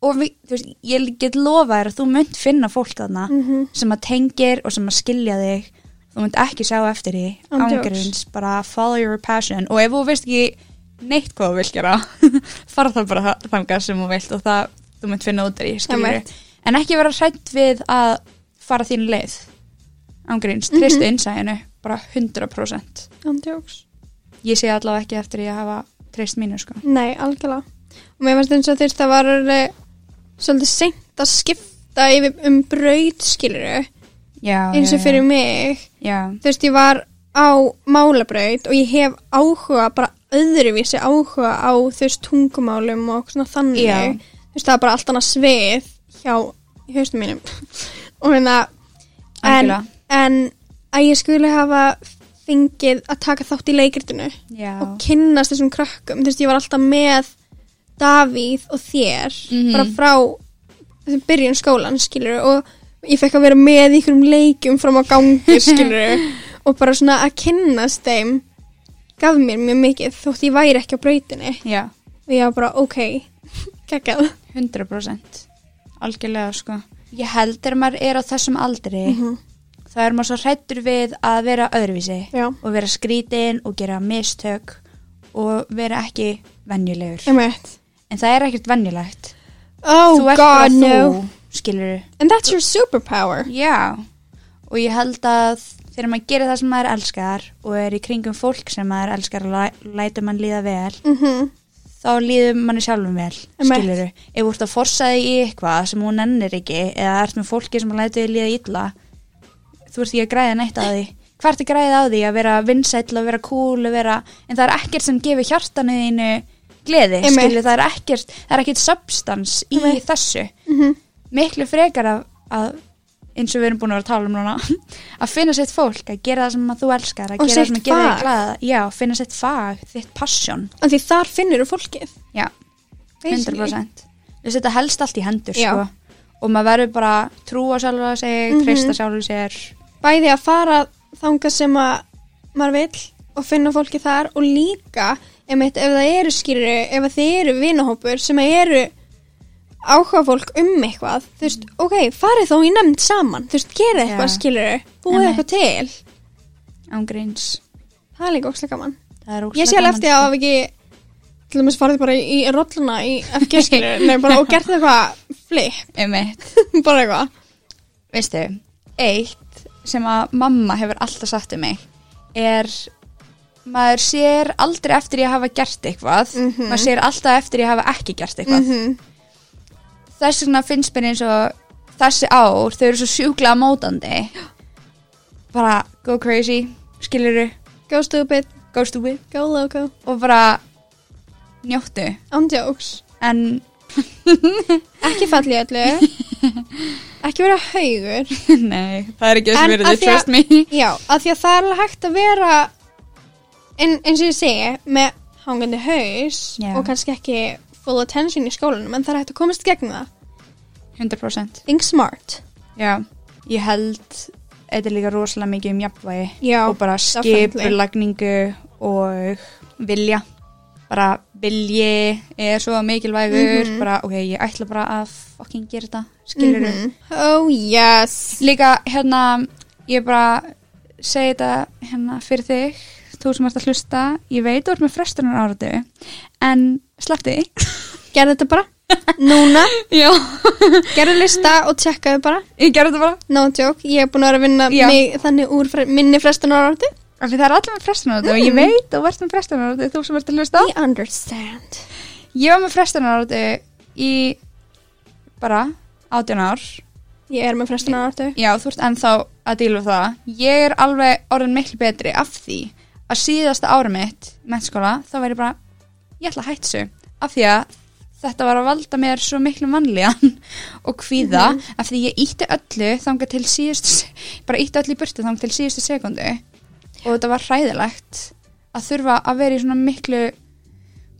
og við, þú veist, ég get lofa þér að þú munt finna fólk þarna
Mhm.
sem að tengir og sem að skilja þig þú munt ekki sjá eftir því
Án jokes.
ángurins, bara follow your passion og ef þú veist ekki neitt hvað þú vilt gera fara það bara þangað sem þú vilt og það þú munt finna út þér í skilur
Einmitt.
en ekki vera hrætt við að fara þín leið ángurins, tristu mm innsæðinu bara 100%
Andjóks.
ég sé allavega ekki eftir því að hafa trist mínu sko
Nei, algjörlega. Og mér finnst eins og þeir það var alveg svolítið seint að skipta yfir um braut skiluru
já,
eins og
Ah, já,
fyrir mig.
já,
Þú veist, ég var á málabraut og ég hef áhuga, bara öðruvísi áhuga á þú veist tungumálum og svona þannig.
Já.
Þú veist, það er bara allt annað svið hjá í haustum mínum. og minna, en,
Algjörlega.
en að ég skuli hafa fengið að taka þátt í leikritinu
já.
og kynnast þessum krökkum þú veist, ég var alltaf með Davíð og þér
Mhm.
bara frá byrjun skólan, skilur og ég fekk að vera með í einhverjum leikjum fram á gangi, skilur og bara svona að kynnast þeim gaf mér mjög mikið þótt ég væri ekki á brautinni
Já,
og ég var bara, ok, geggjað
100% algjörlega sko Mhm. ég held þegar maður er á þessum aldri þá er maður svo hrættur við að vera öðruvísi
já,
og vera skrítin og gera mistök og vera ekki venjulegur
emmett
en það er ekkert venjulegt
oh
þú ert bara
god, no
þú, skilur
and that's your superpower
já, og ég held að þegar maður gerir það sem maður elskar og er í kringum fólk sem maður elskar og læ- lætur mann líða vel
mm
þá líður manni sjálfum vel
Emmett.
skilur ef þú ert að forsa þig í eitthvað sem hún ennir ekki eða ert með fólki sem að læta þig líða illa þú ert ekki að græða neitt á því hvað ert að græða á því að vera vinsæll og vera cool og vera, en það er ekkert sem gefur hjartanu þínu gleði
Emmett.
skilur, það er ekkert, það er ekkert substans í þessu
Mhm.
miklu frekar að, að eins og við erum búin að vera að tala um núna að finna sitt fólk, að gera það sem að þú elskar að gera
Og
það
sitt
sem að gera
fag.
þig glæða já, finna sitt fag, þitt passion
en því þar finnur þú fólkið
já,
basically.
100% Þú veist, þetta helst allt í hendur
Já.
sko. og maður verður bara að trúa sjálfa sig
Mhm.
treysta sjálfa sér
bæði að fara þangað sem að maður vill og finna fólki þar og líka einmitt, ef það eru skýrur ef að þið eru vinahópur sem að eru áhuga fólk um eitthvað þú veist, ok, farið þá í nefnd saman þú veist, gera eitthvað
Já.
yeah. skýrur búið
Einmitt.
eitthvað til,
ángríns
það er líka óslega gaman sko.
Það er
ég sé alveg eftir að hafa ekki til dæmis farið bara í í rolluna í FG skýrur, nei bara og gert eitthvað flip,
sko. Einmitt.
bara eitthvað
Veistu, eitt sem að mamma hefur alltaf sagt um mig er maður sér aldrei eftir ég hafa gert eitthvað
Mhm.
maður sér alltaf eftir ég hafa ekki gert eitthvað
-hmm.
þess vegna finnst mér eins og þessi ár, þau eru svo sjúklega mótandi bara go crazy, skiluru
go stupid,
go stupid
go loco
og bara njóttu
andjóks
en
ekki falli öllu ekki vera haugur
nei, það er ekki
En
þess
af
verið,
því að-
trust me
já, af því að það er alveg hægt að vera en, eins og ég segi með hangandi haus
Já.
og kannski ekki full attention í skólanum en það er hægt að komast í gegnum það
100%
think smart
já, ég held þetta er líka rosalega mikið um jafnvægi
já,
og bara
definitely.
skipulagningu og vilja bara vilji er svo mikilvægur
Mhm.
bara ok, ég ætla bara að fucking gera þetta skilur
Mhm. oh yes
líka hérna ég bara segi þetta hérna fyrir þig þú sem ert að hlusta, ég veit þú ert með frestunar áratu en sleppti
gerðu þetta bara, núna
já,
gerðu lista og tjekkaðu bara
ég gerði þetta bara
no joke, ég er búin að vera að vinna
Já.
mig, þannig úr fre minni frestunar áratu
af því það er allir með frestunar áratu og ég veit þú ert með frestunar áratu þú sem ert að hlusta
I understand
ég var með frestunar áratu í bara 18 ár
ég er með frestunar áratu
já, þú ert ennþá að díla við það ég er alveg orðin miklu betri af því að síðasta ára mitt mennskóla, þá væri ég bara ég ætla að hætta þessu af því að þetta var að valda mér svo miklu mannlegan og kvíða af því ég ítti öllu þangað til síðustu bara ítti öllu í burtu þangað til síðustu sekundu og þetta var hræðilegt að þurfa að vera í svona miklu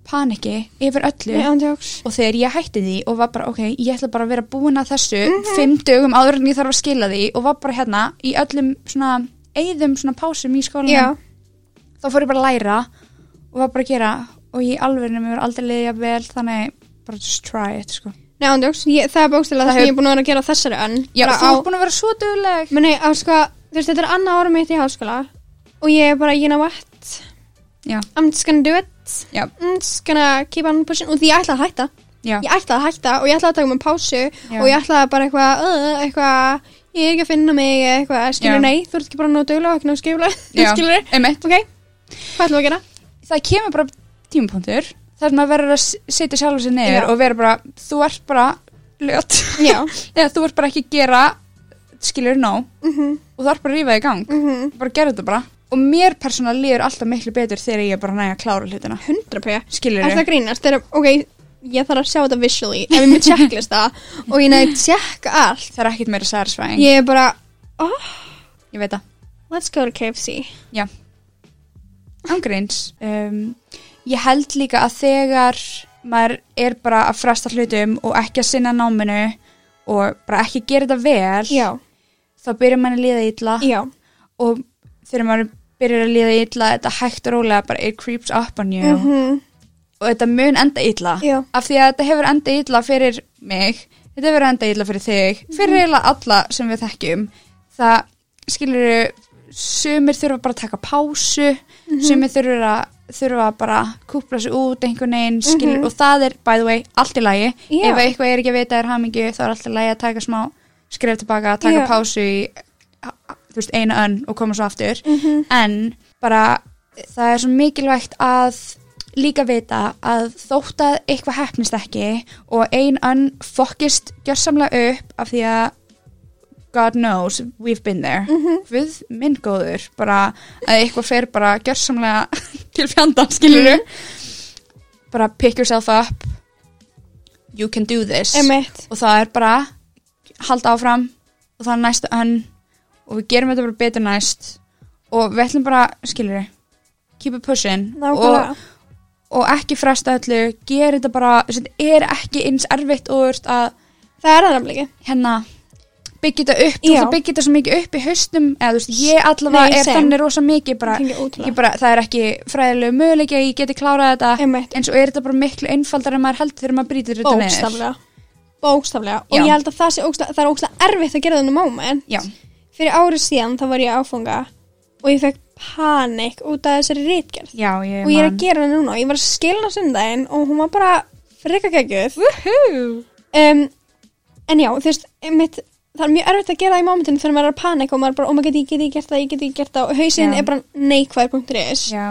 paniki yfir öllu
yeah. andjóks
og þegar ég hætti því og var bara ok, ég ætla bara að vera búin að þessu fimm dögum áður en ég þarf að skila því og var bara hérna í öllum svona eigðum svona pásum í skólanum
já,
þá fór ég bara að læra og var bara að gera og ég alveg nefnir aldrei liðja vel þannig bara just try it sko
Nei, ándjóks, ég, það er bókstilega það sem
hefur-
ég er búin að vera að gera á þessari önn
Já,
Bara
þú
á-
ert búin að vera svo dugleg
Menni, á sko, þú veist, þetta er annað ára mitt í háskóla og ég er bara, you know what
Já.
I'm just gonna do it
Já.
I'm just gonna keep on pushing og því ég ætlaði að hætta
Já.
ég ætlaði að hætta og ég ætlaði að taka mér pásu og ég ætlaði bara eitthvað uh, eitthvað, ég er ekki að finna mig eitthvað, skilur,
Já.
nei, þú ert ekki bara nóg duglega og ekki nóg skilur,
Já.
skilur
Einmitt.
ok, hvað ætlum við að gera?
það kemur bara tímapunktur þar sem maður verður að s- setja sjálfur sér neður
Já.
og verður bara, þú ert bara ljót,
Já,
eða þú ert bara ekki að gera skilur nóg
mhm,
og þú ert bara að rífa þig í gang
mhm
bara gerðu þetta bara og mér persónulega líður alltaf miklu betur þegar ég er bara næg að klára hlutina
100%
skilur
Er það að grínast? Er, ok, ég þarf að sjá þetta visually ef ég er með checklista og ég næði checka allt
það er ekkit meira sæðarsvæðing
Ég er bara,
ég veit það
let's go to KFC
Ángríns. Um, ég held líka að þegar maður er bara að fresta hlutum og ekki að sinna náminu og bara ekki gera þetta vel,
Já,
þá byrjar maður að líða illa
já,
og þegar maður byrjar að líða illa, þetta hægt og rólega bara it creeps up on you
mhm,
og þetta mun enda illa.
Já.
Af því að þetta hefur enda illa fyrir mig, þetta hefur enda illa fyrir þig, fyrir
Mhm.
eiginlega alla sem við þekkjum. Það skilur sumir þurfa bara að taka pásu,
Mhm.
sumir þurfa, þurfa bara að kúpla sig út einhvern veginn, skilur, og það er, by the way, allt í lagi.
Mhm. Já.
Ef eitthvað er ekki að vita er hamingju, þá er allt í lagi að taka smá skref tilbaka, taka
Já.
pásu í, þú veist, eina önn og koma svo aftur. En bara, það er svo mikilvægt að líka vita að þótt að eitthvað hefnist ekki og ein önn fokkist gjörsamlega upp af því að God knows, we've been there mm -hmm. við minn góður bara að eitthvað fer bara gjörsamlega til fjandan, skilur bara pick yourself up you can do this
emitt
og það er bara halda áfram og það er næsta önn og við gerum þetta bara betur næst og við ætlum bara, skilur keep it pushing og
Nákvæmlega,
og ekki fresta öllu, gera þetta bara þetta er ekki eins erfitt og þú ert að
það er það nefnilega
hérna byggja þetta upp, þú
Já.
ert að byggja þetta svo mikið upp í haustum, eða þú veist, ég allavega
Nei,
er
same.
þannig rosa mikið bara,
Ég tengi
ég
ótrúlega.
bara, það er ekki fræðilegu möguleiki að ég geti klárað þetta
Einmitt.
en svo er þetta bara miklu einfaldar en maður heldur þegar maður brýtur þetta neður
Bókstaflega Bókstaflega Og
Já.
ég held að það sé ógsta, það er ógstlega erfitt að gera þennan moment
Já.
Fyrir ári síðan þá var ég áfunga og ég fekk panik út af þessari rítgerð
Já, ég
og ég er að
man.
gera það núna ég var að skilna sundaginn og hún var bara freka geggjöð
Woohoo!
um, en já, þú veist mitt, það er mjög erfitt að gera það í momentinu þegar maður er að panika og maður er bara, oh my god, ég get ekki gert það, ég get ekki gert það og hausinn
Já.
er bara neikvæður.is
Já.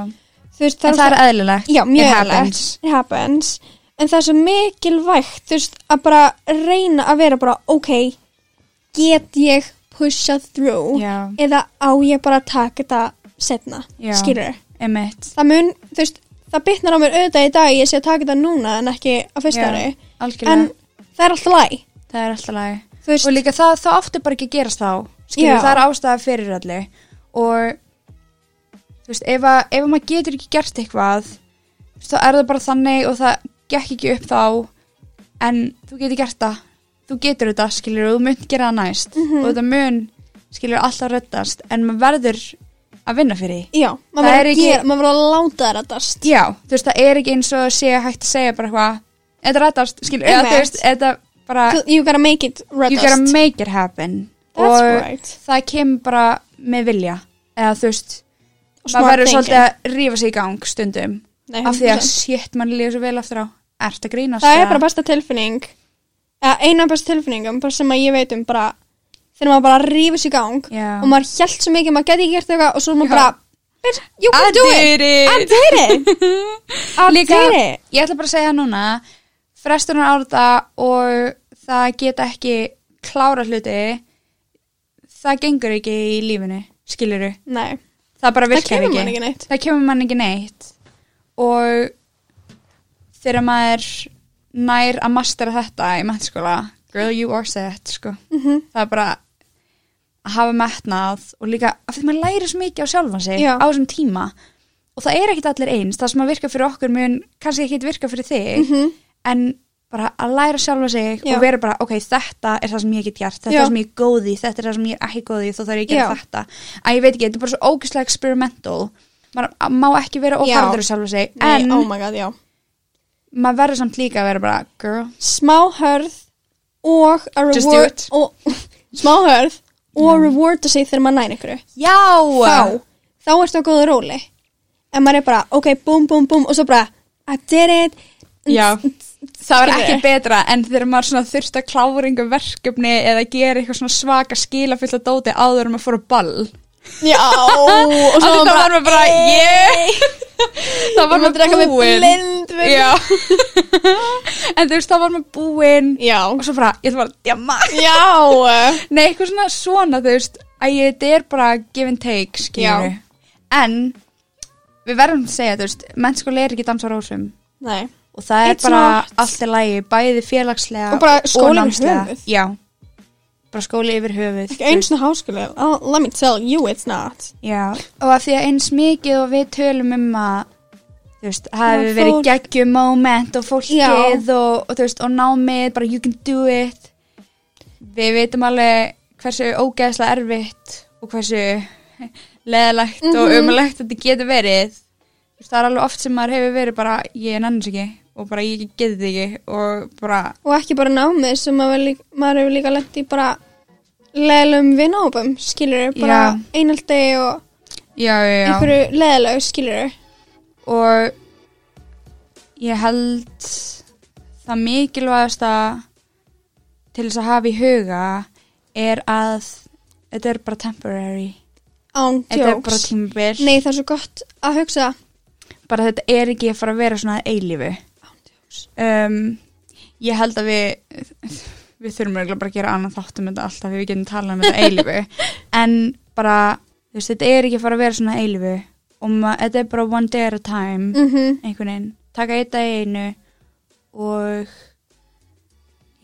þú veist,
En það er eðlilegt
já, mjög
It
erfitt.
happens.
it happens en það er svo mikilvægt þú veist, að bara reyna að vera bara ok, get ég pusha through
Já.
eða á ég bara að taka þetta setna,
Já.
skilur
Einmitt.
það mun, þú veist, það bitnar á mér auðvitað í dag, ég sé að taka þetta núna en ekki á fyrsta
Já,
ári,
algjörlega.
en það er alltaf læg,
það er alltaf lagi
þú veist,
og líka það, það átti bara ekki að gerast þá skilur,
Já.
það er ástæða fyrir allu og þú veist, ef, að, ef að maður getur ekki gert eitthvað þú veist, þá er það bara þannig og það gekk ekki upp þá en þú getur gert það þú getur þetta, skilur, og þú munt gera það næst og þetta mun, skilur, alltaf reddast en maður verður að vinna fyrir því
já,
Það
maður verður
er
að
ekki-
gera, maður verður að láta það rættast,
já, þú veist, það er ekki eins og að sé hægt að segja bara eitthvað, þetta reddast, skilur eða þú
Einmitt.
veist, þetta bara
you gotta make it
you gotta
rættast,
make it happen
that's
og
right,
það kemur bara með vilja eða þú veist maður
smart
verður
thinking.
svolítið að rífa sig í gang stundum
Nei,
af því að
100%.
shit mann líður svo vel aftur á ert að grínast
það er
eða?
bara besta tilfinning, eða eina besta tilfinningum bara sem að ég veit um bara, þegar maður bara rífur sér í gang
Já.
og maður hjælt svo mikið, maður geti ekki gert eitthvað og svo er
Já.
maður bara, bitch, you
I
can do it,
did it.
I did it, I
Líka,
did it,
ég ætla bara að segja núna frestunar á þetta og það geta ekki klára hluti það gengur ekki í lífinu skiluru,
nei,
það bara
það
virkar
kemur mann ekki neitt,
það kemur mann ekki neitt og þegar maður nær að mastera þetta í mennskóla girl you are set sko.
Mhm.
það er bara að hafa metnað og líka af því maður læri svo mikið á sjálfan sig
Já.
á þessum tíma og það er ekkit allir eins það sem að virka fyrir okkur mun kannski ekkit virka fyrir þig en bara að læra sjálfa sig
Mhm. Já.
og vera bara ok, þetta er það sem ég get gert þetta er
Já.
það sem ég er góð í, þetta er það sem ég er ekki góð í þó þarf ég að gera
Já.
þetta að ég veit ekki, þetta er bara svo ógæslega experimental maður má ekki vera
Já.
óharður sjálf og seg,
nei,
en
oh my god, já,
maður verður samt líka að vera bara girl,
smá hörð og að
Just do
reward
it.
og, smá hörð og rewarda sig þegar maður nær einhverju
Já
þá, þá ertu á góðu róli en maður er bara, ok, búm, búm, búm og svo bara, I did it
Já, það var ekki
Skilurðu?
betra en þegar maður svona þurfti að klára einhver verkefni eða gera eitthvað svona svaka skilafullt að dóti áður en maður fór á ball
já, og
Af því
svo
þá var maður bara, yeah Það var
var maður að drekka með
búin.
blind
Já En þú veist, þá var maður búinn
já,
og svo bara, ég ætla bara, já maður
já.
Nei, eitthvað svona svona, þú veist að ég, þetta er bara give and take, skilur En við verðum að segja, þú veist, mennskóli er ekki dans á rósum
Nei.
og það er
It's
bara
not.
allt í lægi, bæði félagslega
Og bara skóli yfir
námslega.
höfuð.
Já, bara skóli yfir höfuð
ekki eins og háskóli oh, let me tell you it's not
Já, og af því að eins mikið og við tölum um að þú veist, það hefur verið
fólk-
geggjum moment og
Já.
fólkið og, og þú veist, og námið, bara you can do it Við veitum alveg hversu ógeðslega erfitt og hversu leðalegt
Mhm.
og umlegt þetta getur verið Þú veist, Það er alveg oft sem maður hefur verið bara ég nannins ekki og bara ég get þetta ekki og bara,
og ekki bara námið sem maður, lí- maður hefur líka lent í bara leðlum vinnópum skilur bara
Já.
einhaldi og
já, já, já
einhverju leðlög skilur
og ég held það mikilvægasta til þess að hafa í huga er að þetta er bara temporary
án
þetta er bara
djóks
tímabil
nei það er svo gott að hugsa það.
bara þetta er ekki að fara að vera svona að eilífu um, ég held að við við þurfum örugglega bara að gera annan þáttum þetta alltaf við getum talað um þetta að eilífu en bara, þú veist, þetta er ekki að fara að vera svona að eilífu og ma- þetta er bara one day at a time
Mhm.
einhvern veginn, taka eitt dag í einu og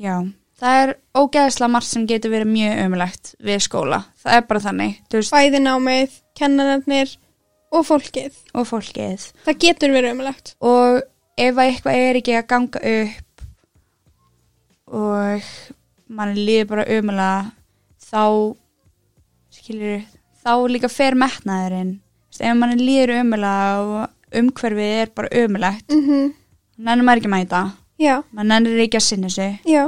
já, það er ógeðslega margt sem getur verið mjög ömulegt við skóla, það er bara þannig þú veist,
bæði námið, kennararnir og fólkið
og fólkið
það getur verið umlegt
og ef að eitthvað er ekki að ganga upp og mann líður bara ömulega þá skilur þá líka fer metnaðurinn Þú veist, ef mann líður ömulega og umhverfið er bara ömulegt
mm -hmm.
nennir maður ekki að mæta
já,
maður nennir ekki að sinna sig
já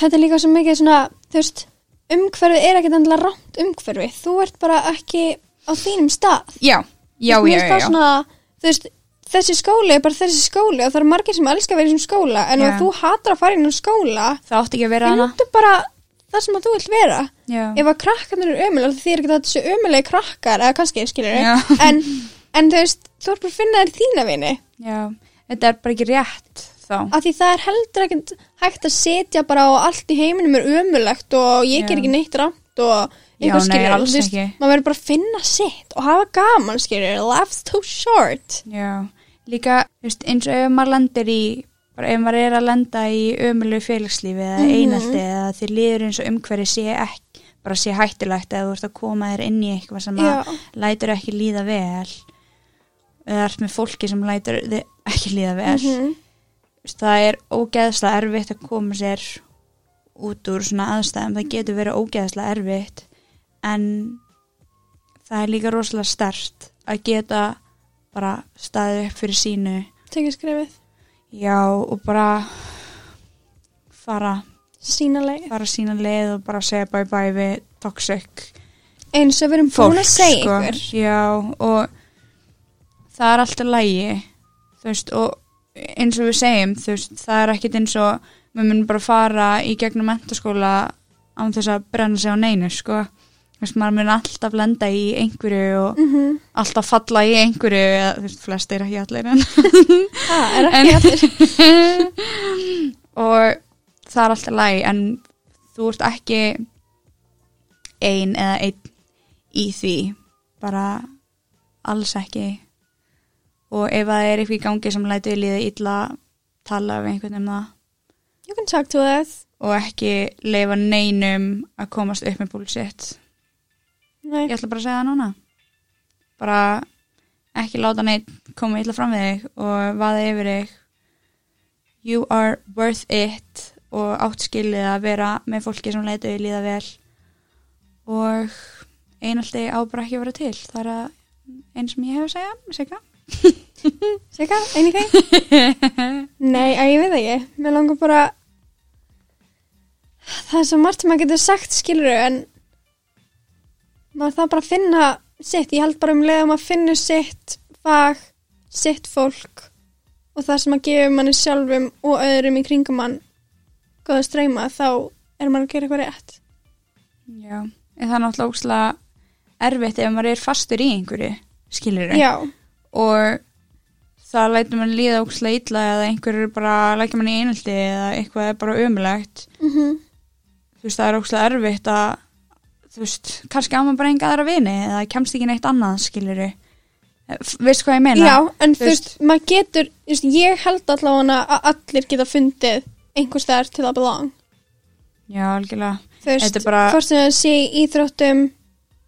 þetta er líka svo mikið svona þú veist, umhverfið er ekkert endilega rámt umhverfi þú ert bara ekki á þínum stað
Já, já,
Þú veist,
já,
mér finnst
já,
það
já.
svona, þú veist, þessi skóli er bara þessi skóli og það eru margir sem elskar að vera í þessum skóla en
Já.
ef þú hatar að fara inn á skóla
Það átti ekki að vera hana
finnstu bara það sem að þú vilt vera
Já,
ef að krakkarnir eru ömulega því er ekki þetta þessu ömulegi krakkar eða kannski skilur
Já.
en, en þú veist, þú ert bara að finna þér þína vini
já, þetta er bara ekki rétt þá
af því það er heldur ekkert hægt að setja bara og allt í heiminum er ömulegt og ég
Já.
ger ekki neitt rámt og
Já,
eitthvað
nei,
skilur
alls
þú veist,
ekki.
maður verður bara að finna sitt og hafa gaman skilur, life's too short
Já, líka, þú veist, eins og ef maður lendir í bara ef maður er að lenda í ömulegu félagslífi eða
Mhm.
einaldi eða þér líður eins og umhverfi sé ekki bara sé hættulegt eða þú ert að koma þér inn í eitthvað sem að
Já.
lætur ekki líða vel eða ert með fólki sem lætur þið ekki líða vel
Mhm.
Þú veist, það er ógeðslega erfitt að koma sér út úr svona aðstæðum það getur verið ógeðslega erfitt en það er líka rosalega stert að geta bara staðið upp fyrir sínu
tekið skrifið,
já og bara fara,
sína leið
fara sína leið og bara segja bye bye við toxic
eins og við erum
fólk
búin að segja
sko.
ykkur
já og það er alltaf lægi þú veist og eins og við segjum þú veist það er ekkit eins og við munum bara fara í gegnum mentaskóla án þess að brenna sig á neinu sko þú veist maður mun alltaf lenda í einhverju og
mm -hmm.
alltaf falla í einhverju eða þú veist flestir ekki allir en
það er
En-
ekki allir
og það er alltaf lægi en þú ert ekki ein eða einn í því bara alls ekki og ef það er eitthvað í gangi sem lætur líða illa tala við einhvern um það
you can talk to us
og ekki leifa neinum að komast upp með bullshit
Nei.
ég ætla bara að segja það núna bara ekki láta neitt koma illa fram við þig og vaða yfir þig you are worth it og átt skilið að vera með fólki sem leitu í líða vel og einaldi á bara ekki að vera til það er að einn sem ég hef að segja, segja
Sika, anything? Nei, að ég veit það ekki. Mér langar bara það er svo margt sem maður getur sagt skilur en maður þarf bara að finna sitt, ég held bara um leið að maður finnur sitt fag, sitt fólk og það sem maður gefur manni sjálfum og öðrum í kringum mann góða streyma þá er maður að gera eitthvað rétt
Já, en það er náttúrulega ókslega erfitt ef maður er fastur í einhverju, skilur
Já,
og það lætur mann líða ókslega illa eða einhver er bara, lækja mann í einhaldi eða eitthvað er bara ömulegt
mm
þú veist, það er ókslega erfitt að þú veist, kannski á maður bara enga aðra vini eða kemst ekki neitt annað, skilur veist hvað ég meina?
Já en
þú
þú veist, maður getur þú veist, ég held allavega að allir geta fundið einhvers staðar til að belong
Já, algjörlega
þú veist,
Þetta er bara-
hvort sem það sé í íþróttum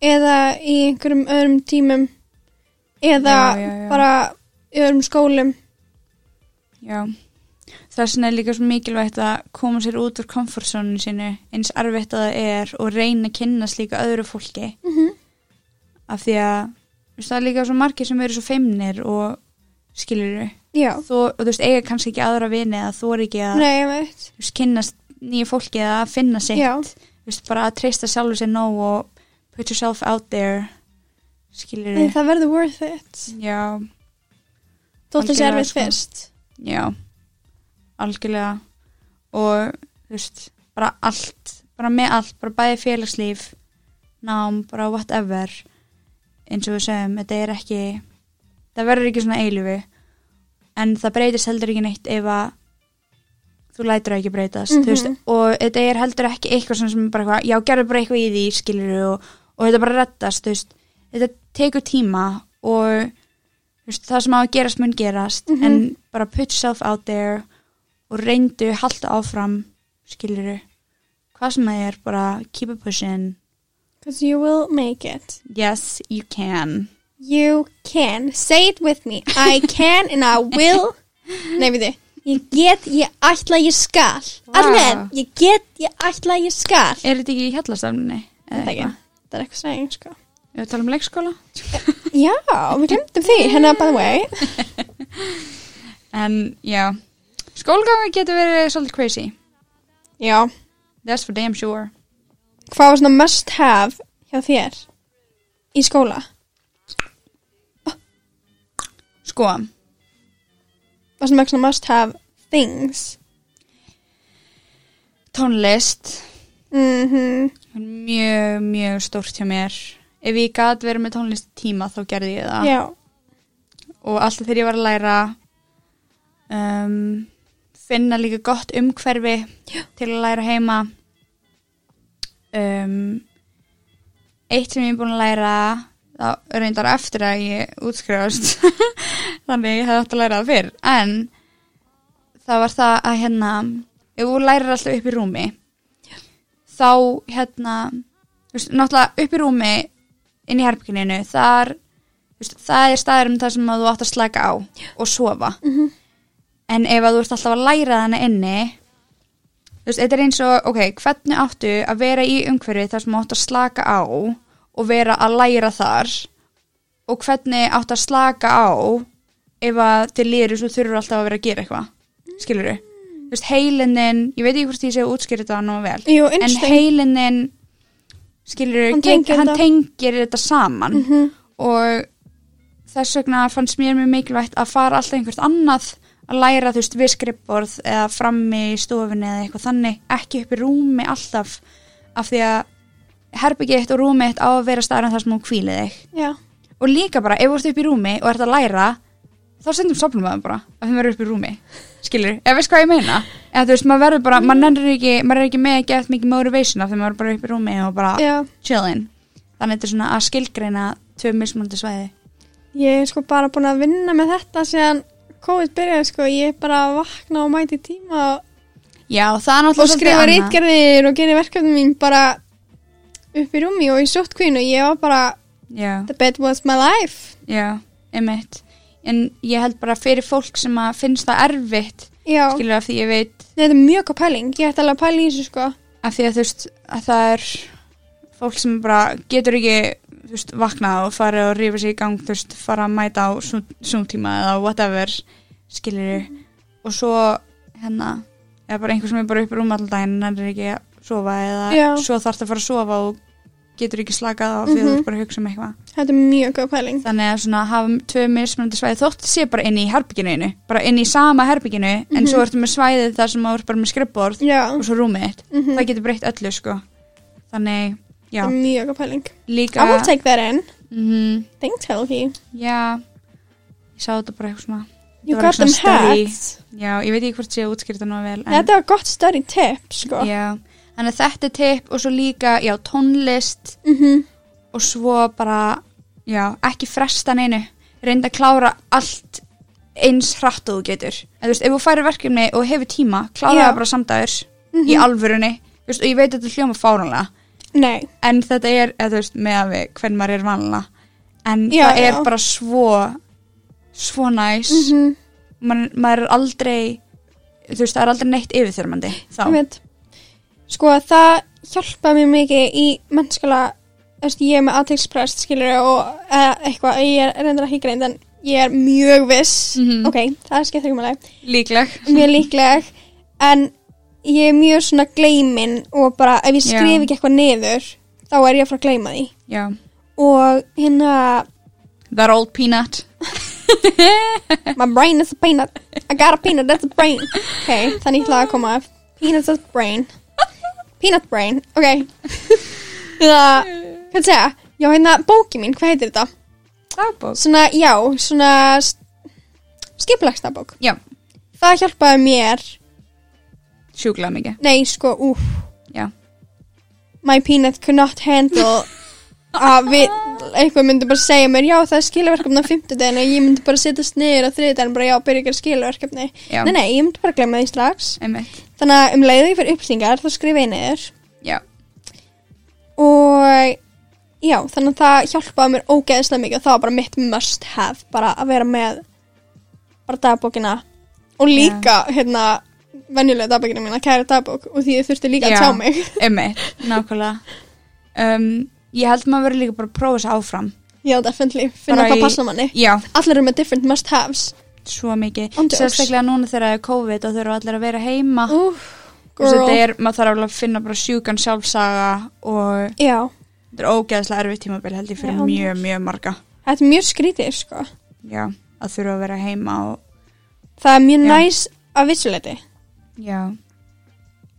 eða í einhverjum öðrum tímum eða
Já, já, já.
bara í öðrum skólum
Já, þess vegna er líka svo mikilvægt að koma sér út úr komfortzónu sínu eins erfitt að það er og reyna að kynnast líka öðru fólki
Mhm.
af því að þú veist, það er líka svo margir sem eru svo feimnir og skilur þau
já,
og þú veist, eiga kannski ekki aðra vini eða þú er ekki að
nei, ég veit
þú veist, kynnast nýju fólki eða að finna sitt
já,
þú veist, bara að treysta sjálfur sér nóg og put yourself out there skilur
en
þau
það verður worth it
Já,
þótt að sé
Algjörlega,
erfið
sko.
fyrst
Já, algjörlega og þú veist, bara allt, bara með allt, bara bæði félagslíf, nám, bara whatever, eins og við segjum, þetta er ekki, það verður ekki svona eilífi, en það breytist heldur ekki neitt ef að þú lætur það ekki breytast, þú veist,
Mhm.
og þetta er heldur ekki eitthvað sem- sem bara eitthvað, já, gerðu bara eitthvað í því, skilur og, og þetta bara rettast, þú veist, þetta tekur tíma og þú veist, það sem á að gerast mun gerast
Mhm.
en bara put yourself out there og reyndu halda áfram skiluru hvað sem það er, bara keep it pushing
because you will make it
yes, you can
you can, say it with me I can and I will nei, við þið Ég get, ég ætla, ég skal.
Vá.
Allir, ég get, ég ætla, ég skal.
er þetta ekki í hjallastafninni?
Þetta ekki. Það er eitthvað sæðing, sko.
við tala um leikskóla
Já, við glemdum því, hérna by the way
en já, skólganga getur verið svolítið crazy,
Já,
that's for damn sure
hvað var svona must have hjá þér í skóla?
sko,
Var svona mjög svona must have things
tónlist
mm
mjög, mjög stórt hjá mér ef ég gat verið með tónlist í tíma þá gerði ég það
Já,
og alltaf þegar ég var að læra um, finna líka gott umhverfi
Já.
til að læra heima um, eitt sem ég er búin að læra þá reyndar eftir að ég útskrifast þannig ég hefði átt að læra það fyrr en það var það að hérna ef þú lærir alltaf upp í rúmi þá hérna þú veist, náttúrulega upp í rúmi inn í herbyggininu þar þú veist, það er staðurinn þar sem að þú átt að slaka á og sofa
Mhm.
en ef að þú ert alltaf að læra þannig inni þú veist, þetta er eins og ok, hvernig áttu að vera í umhverfi þar sem þú átt að slaka á og vera að læra þar og hvernig átt að slaka á ef að þið líður svo þurfur alltaf að vera að gera eitthvað skilur þú? veist, heilinin, ég veit ekki hvort ég sé að útskýra þetta nú vel
jú,
en
innstæng
heilinin skilur,
Hann
hann,
tengir
hann
þetta.
tengir þetta saman
mm -hmm.
og þess vegna fannst mér mjög mikilvægt að fara alltaf einhvert annað að læra þú veist við skrippborð eða frammi í stofunni eða eitthvað þannig ekki upp í rúmi alltaf af því að herbyggi eitt og rúmi eitt á að vera staðar en þar sem hún kvílið þig
Já,
og líka bara ef þú ert upp í rúmi og ert að læra þá stundum sopnum maður bara að þeim verður upp í rúmi skilur, ef veist hvað ég meina eða þú veist, maður verður bara, maður nennir ekki maður er ekki með að geta mikið motivation af því maður er bara upp í rúmi og bara
já
chillin þannig þetta er svona að skilgreina tvö mismunandi svæði
Ég er sko bara búin að vinna með þetta síðan COVID byrjaði sko Ég er bara að vakna og mæti tíma og,
já, það er
og
náttúrulega
skrifa
svolítið annað.
rítgerðir og gera verkefni mín bara upp í rúmi og í sóttkvínu Ég var bara,
já,
the bed was my life
já, einmitt en ég held bara fyrir fólk sem að finnst það erfitt
Já,
skilur af því ég veit
Nei, þetta er mjög góð pæling, ég ætti alveg að pæla í þessu sko
af því að þú veist að það er fólk sem bara getur ekki þú veist, vaknað og farið og rífa sig í gang þú veist, fara að mæta á súmtíma eða whatever, skilur og svo hérna, eða bara einhver sem er bara upp í rúm allan daginn en hann er ekki að sofa eða
Já.
svo þarf að fara að sofa og getur ekki slakað á
Mhm.
því að þú ert bara að hugsa um eitthvað
Þetta er mjög góð pæling.
þannig að svona hafa tvö mismunandi svæði þótt sé bara inn í herbygginu einu bara inn í sama herbygginu en svo ertu með svæðið þar sem þú ert bara með skrippborð
Mhm. Já,
og svo rúmið þitt,
Mhm.
það getur breytt öllu sko þannig, já,
þetta er mjög góð pæling.
líka
I will take that in.
Mhm,
Thanks, Helgi.
já ég sá þetta bara eitthvað svona
You
var
got them
eitthvað svona story.
hats.
já, ég veit ekki hvort sé útskýrt það nú vel en,
Þetta var gott störi tip, sko.
já, þannig að þetta er tipp og svo líka, já, tónlist
Mhm.
og svo bara já, ekki fresta neinu reynda að klára allt eins hratt og þú getur en, þú veist, ef þú færir verkefni og hefur tíma klára
Já. Mhm.
það bara samdæður í alvörunni Þú veist, og ég veit að þetta hljóma fáránlega
Nei,
en þetta er, eða, þú veist, með að við hvern maður er vanlega en
Já,
það er
já.
bara svo svo næs
mm -hmm.
Man, maður er aldrei þú veist, það er aldrei neitt yfirþyrmandi þá,
Sko, það hjálpaði mér mikið í mennskala, þú veist, ég er með aðtæksprest, skilur og eða, eitthvað, ég er reyndar ekki greind, en ég er mjög viss.
Mhm.
Ok, það skemmt ekki máli.
líkleg
Mjög líkleg, en ég er mjög svona gleimin og bara ef ég
Já.
skrif ekki eitthvað niður, þá er ég að fara að gleima því.
já,
Og hérna,
that old peanut
My brain is a peanut. I got a peanut, that's a brain. Ok, þannig ætlaði að koma af. Peanut is brain. Peanut brain, ok. Það, hvað segja? Já, hérna, bóki mín, hvað heitir þetta?
dagbók
Svona, já, svona skiplagstabók.
já,
Það hjálpaði mér,
sjúklega mikið
nei, sko, úf.
Já.
My peanut could not handle að við, eitthvað myndi bara segja mér, já, það er skilaverkefni á fimmtudeginu, ég myndi bara sittast niður á þriðdeginu, bara já, byrja ekki að skilaverkefni.
Já,
Nei, nei, ég myndi bara glemma því strax.
einmitt.
Þannig að um leiðu ég fyrir upplýsingar þá skrifa ég niður
Já,
og já, þannig að það hjálpaði mér ógeðislega mikið og það var bara mitt must have bara að vera með bara dagbókina og líka hérna venjulega dagbókina mína, kæra dagbók og því ég þurfti líka
Já.
að tjá mig
einmitt, nákvæmlega. Um, ég held maður verið líka bara að prófa þessu áfram.
Já, definitely, finna
Bara
hvað
í-
passa manni
Já,
Allir eru með different must haves
svo mikið.
Án Mm. jokes.
Sérstaklega núna þegar það er COVID og þurfa allir að vera heima.
Úf,
Þú veist, Þetta
girl
Ah. er, maður þarf alveg að finna bara sjúkan sjálfsaga og
Já,
þetta er ógeðslega erfið tímabil held ég fyrir
Já, án
mjög, mjög marga.
þetta er mjög skrítið sko
Já, að þurfa að vera heima og,
Það er mjög
Já.
næs að vissuleiti
já,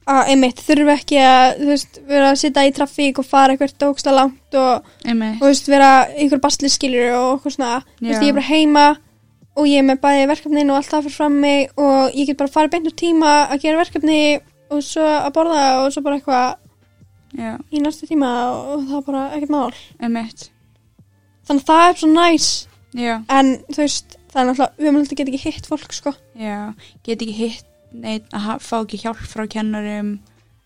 að einmitt þurfa ekki að þú veist, vera að sitja í trafík og fara eitthvað dóksla langt og, og
einmitt.
þú veist, vera í einhver basli skilur og okkur svona Þú veist,
Já.
ég er bara heima og ég er með bæði verkefnin og allt það fyrir fram mig og ég get bara farið beint úr tíma að gera verkefni og svo að borða og svo bara eitthvað
Já,
í næstu tíma og, og það er bara ekkert mál
einmitt.
þannig að það er svo næs
Já,
en þú veist, það er náttúrulega við mögulega get ekki hitt fólk sko
já, get ekki hitt neitt að ha- fá ekki hjálp frá kennurum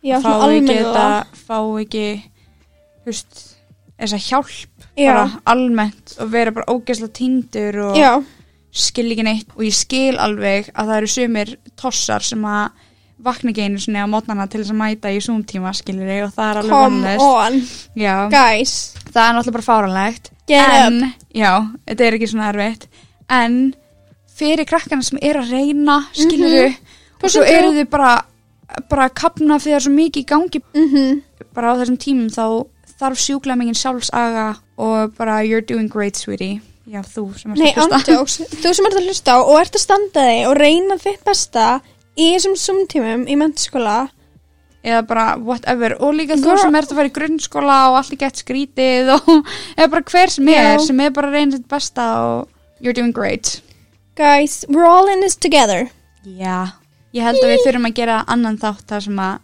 Já,
fá
svona
ekki
almennilega.
þetta, fá ekki þú veist, þessa hjálp
Já.
bara almennt og vera bara ógeðslega tindur og
Já,
skil ekki neitt og ég skil alveg að það eru sumir tossar sem að vakna ekki einu sinni á mótnana til þess að mæta í zoom-tíma skilir ég og það er alveg
come
vonlust
on
Já,
guys,
það er náttúrulega bara fáranlegt
Get
en, já, þetta er ekki svona erfitt en fyrir krakkana sem er að reyna skilur þau og svo
Percentu.
eru þau bara bara að kapna fyrir svo mikið í gangi
mhm
bara á þessum tímum þá þarf sjúklega mingin sjálfsaga og bara you're doing great sweetie já þú sem er
Nei, andjóks, þú sem ert að hlusta á og ert að standa þig og reyna þitt besta í þessum sumtímum í mennskóla
eða bara whatever og líka þú
Girl.
sem ert að fara í grunnskóla og allt er gett skrítið og eða bara hver sem er
Já.
sem er bara að reyna sitt besta og you're doing great
Guys, we're all in this together
já ég held að við þurfum að gera annan þátt þar sem að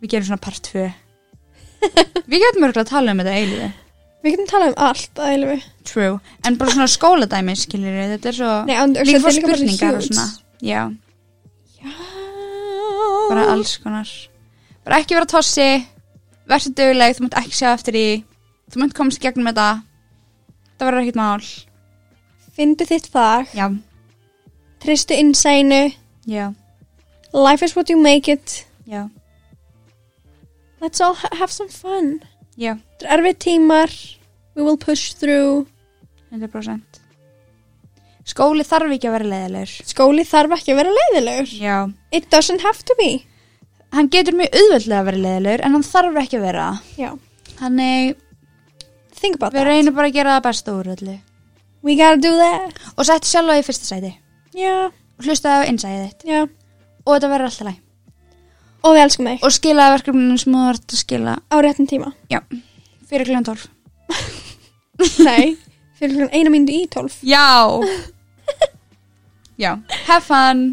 við gerum svona part 2 við getum örgulega að tala um þetta eilífi
Við getum talað um allt að eilfi
true en bara svona skóladæmi skilir þetta er svo
Nei, andjóks,
líka
þetta
fór
er líka bara
spurningar og
huge.
svona já
Já
bara alls konar bara ekki vera tossi verður döguleg, þú mátt ekki sjá eftir því þú mátt komast í gegnum þetta það verður ekkert mál
Fyndu þitt fag,
já,
tristu innsænu
já,
Life is what you make it
já,
Let's all ha- have some fun
já
Þetta er erfið tímar We will push through
100% skóli þarf ekki að vera leiðilegur
Skóli þarf ekki að vera leiðilegur
já,
It doesn't have to be
hann getur mjög auðveldlega að vera leiðilegur en hann þarf ekki að vera það.
Já.
þannig
Think about
við
that.
reynum bara að gera það besta úr öllu
We gotta do that.
og settu sjálfa í fyrsta sæti
Já,
og hlustaði á innsæðið þitt
já.
og þetta verður alltaf læg
Og við elskum þig.
og skilaði verkefninu sem þú ert að skila
Á réttin tíma.
já, fyrir kljóðan 12
Nei, fyrir klukkan eina mínútu í tólf.
já já, have fun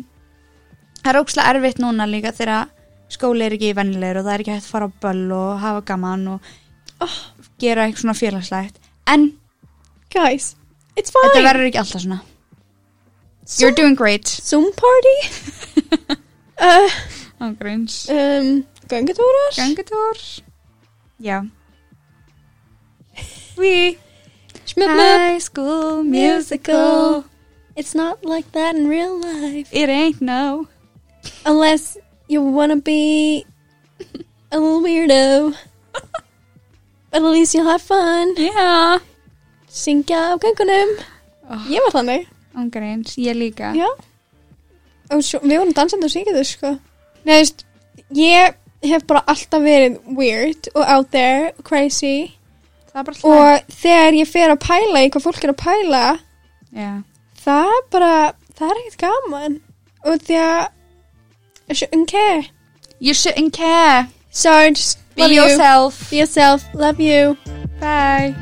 það er ókslega erfitt núna líka þegar skóli er ekki vennilegur og það er ekki hægt að fara á böll og hafa gaman og Oh. gera eitthvað svona félagslegt en
Guys, it's
þetta
fine.
verður ekki alltaf svona you're doing great
Zoom party. uh,
ángríns
um, Göngutúrar.
gangutúr já we
Smjöp, smjöp.
High School Musical
It's not like that in real life.
It ain't no
Unless you wanna be a little weirdo. But at least you'll have fun.
Yeah
Syngja á göngunum. Ah.
Oh.
Ég var þannig.
Ángreins, ég líka
Já. Og svo, við vorum dansandi og syngjaðu, sko. Nei, þú veist, ég hef bara alltaf verið weird og out there, crazy.
Það er bara alltaf
Og þegar ég fer að pæla í hvað fólk er að pæla,
Já,
það er bara, það er ekkert gaman. Og því að, I shouldn't care.
You shouldn't care
So just
Be yourself
Be yourself. Love you.
Bye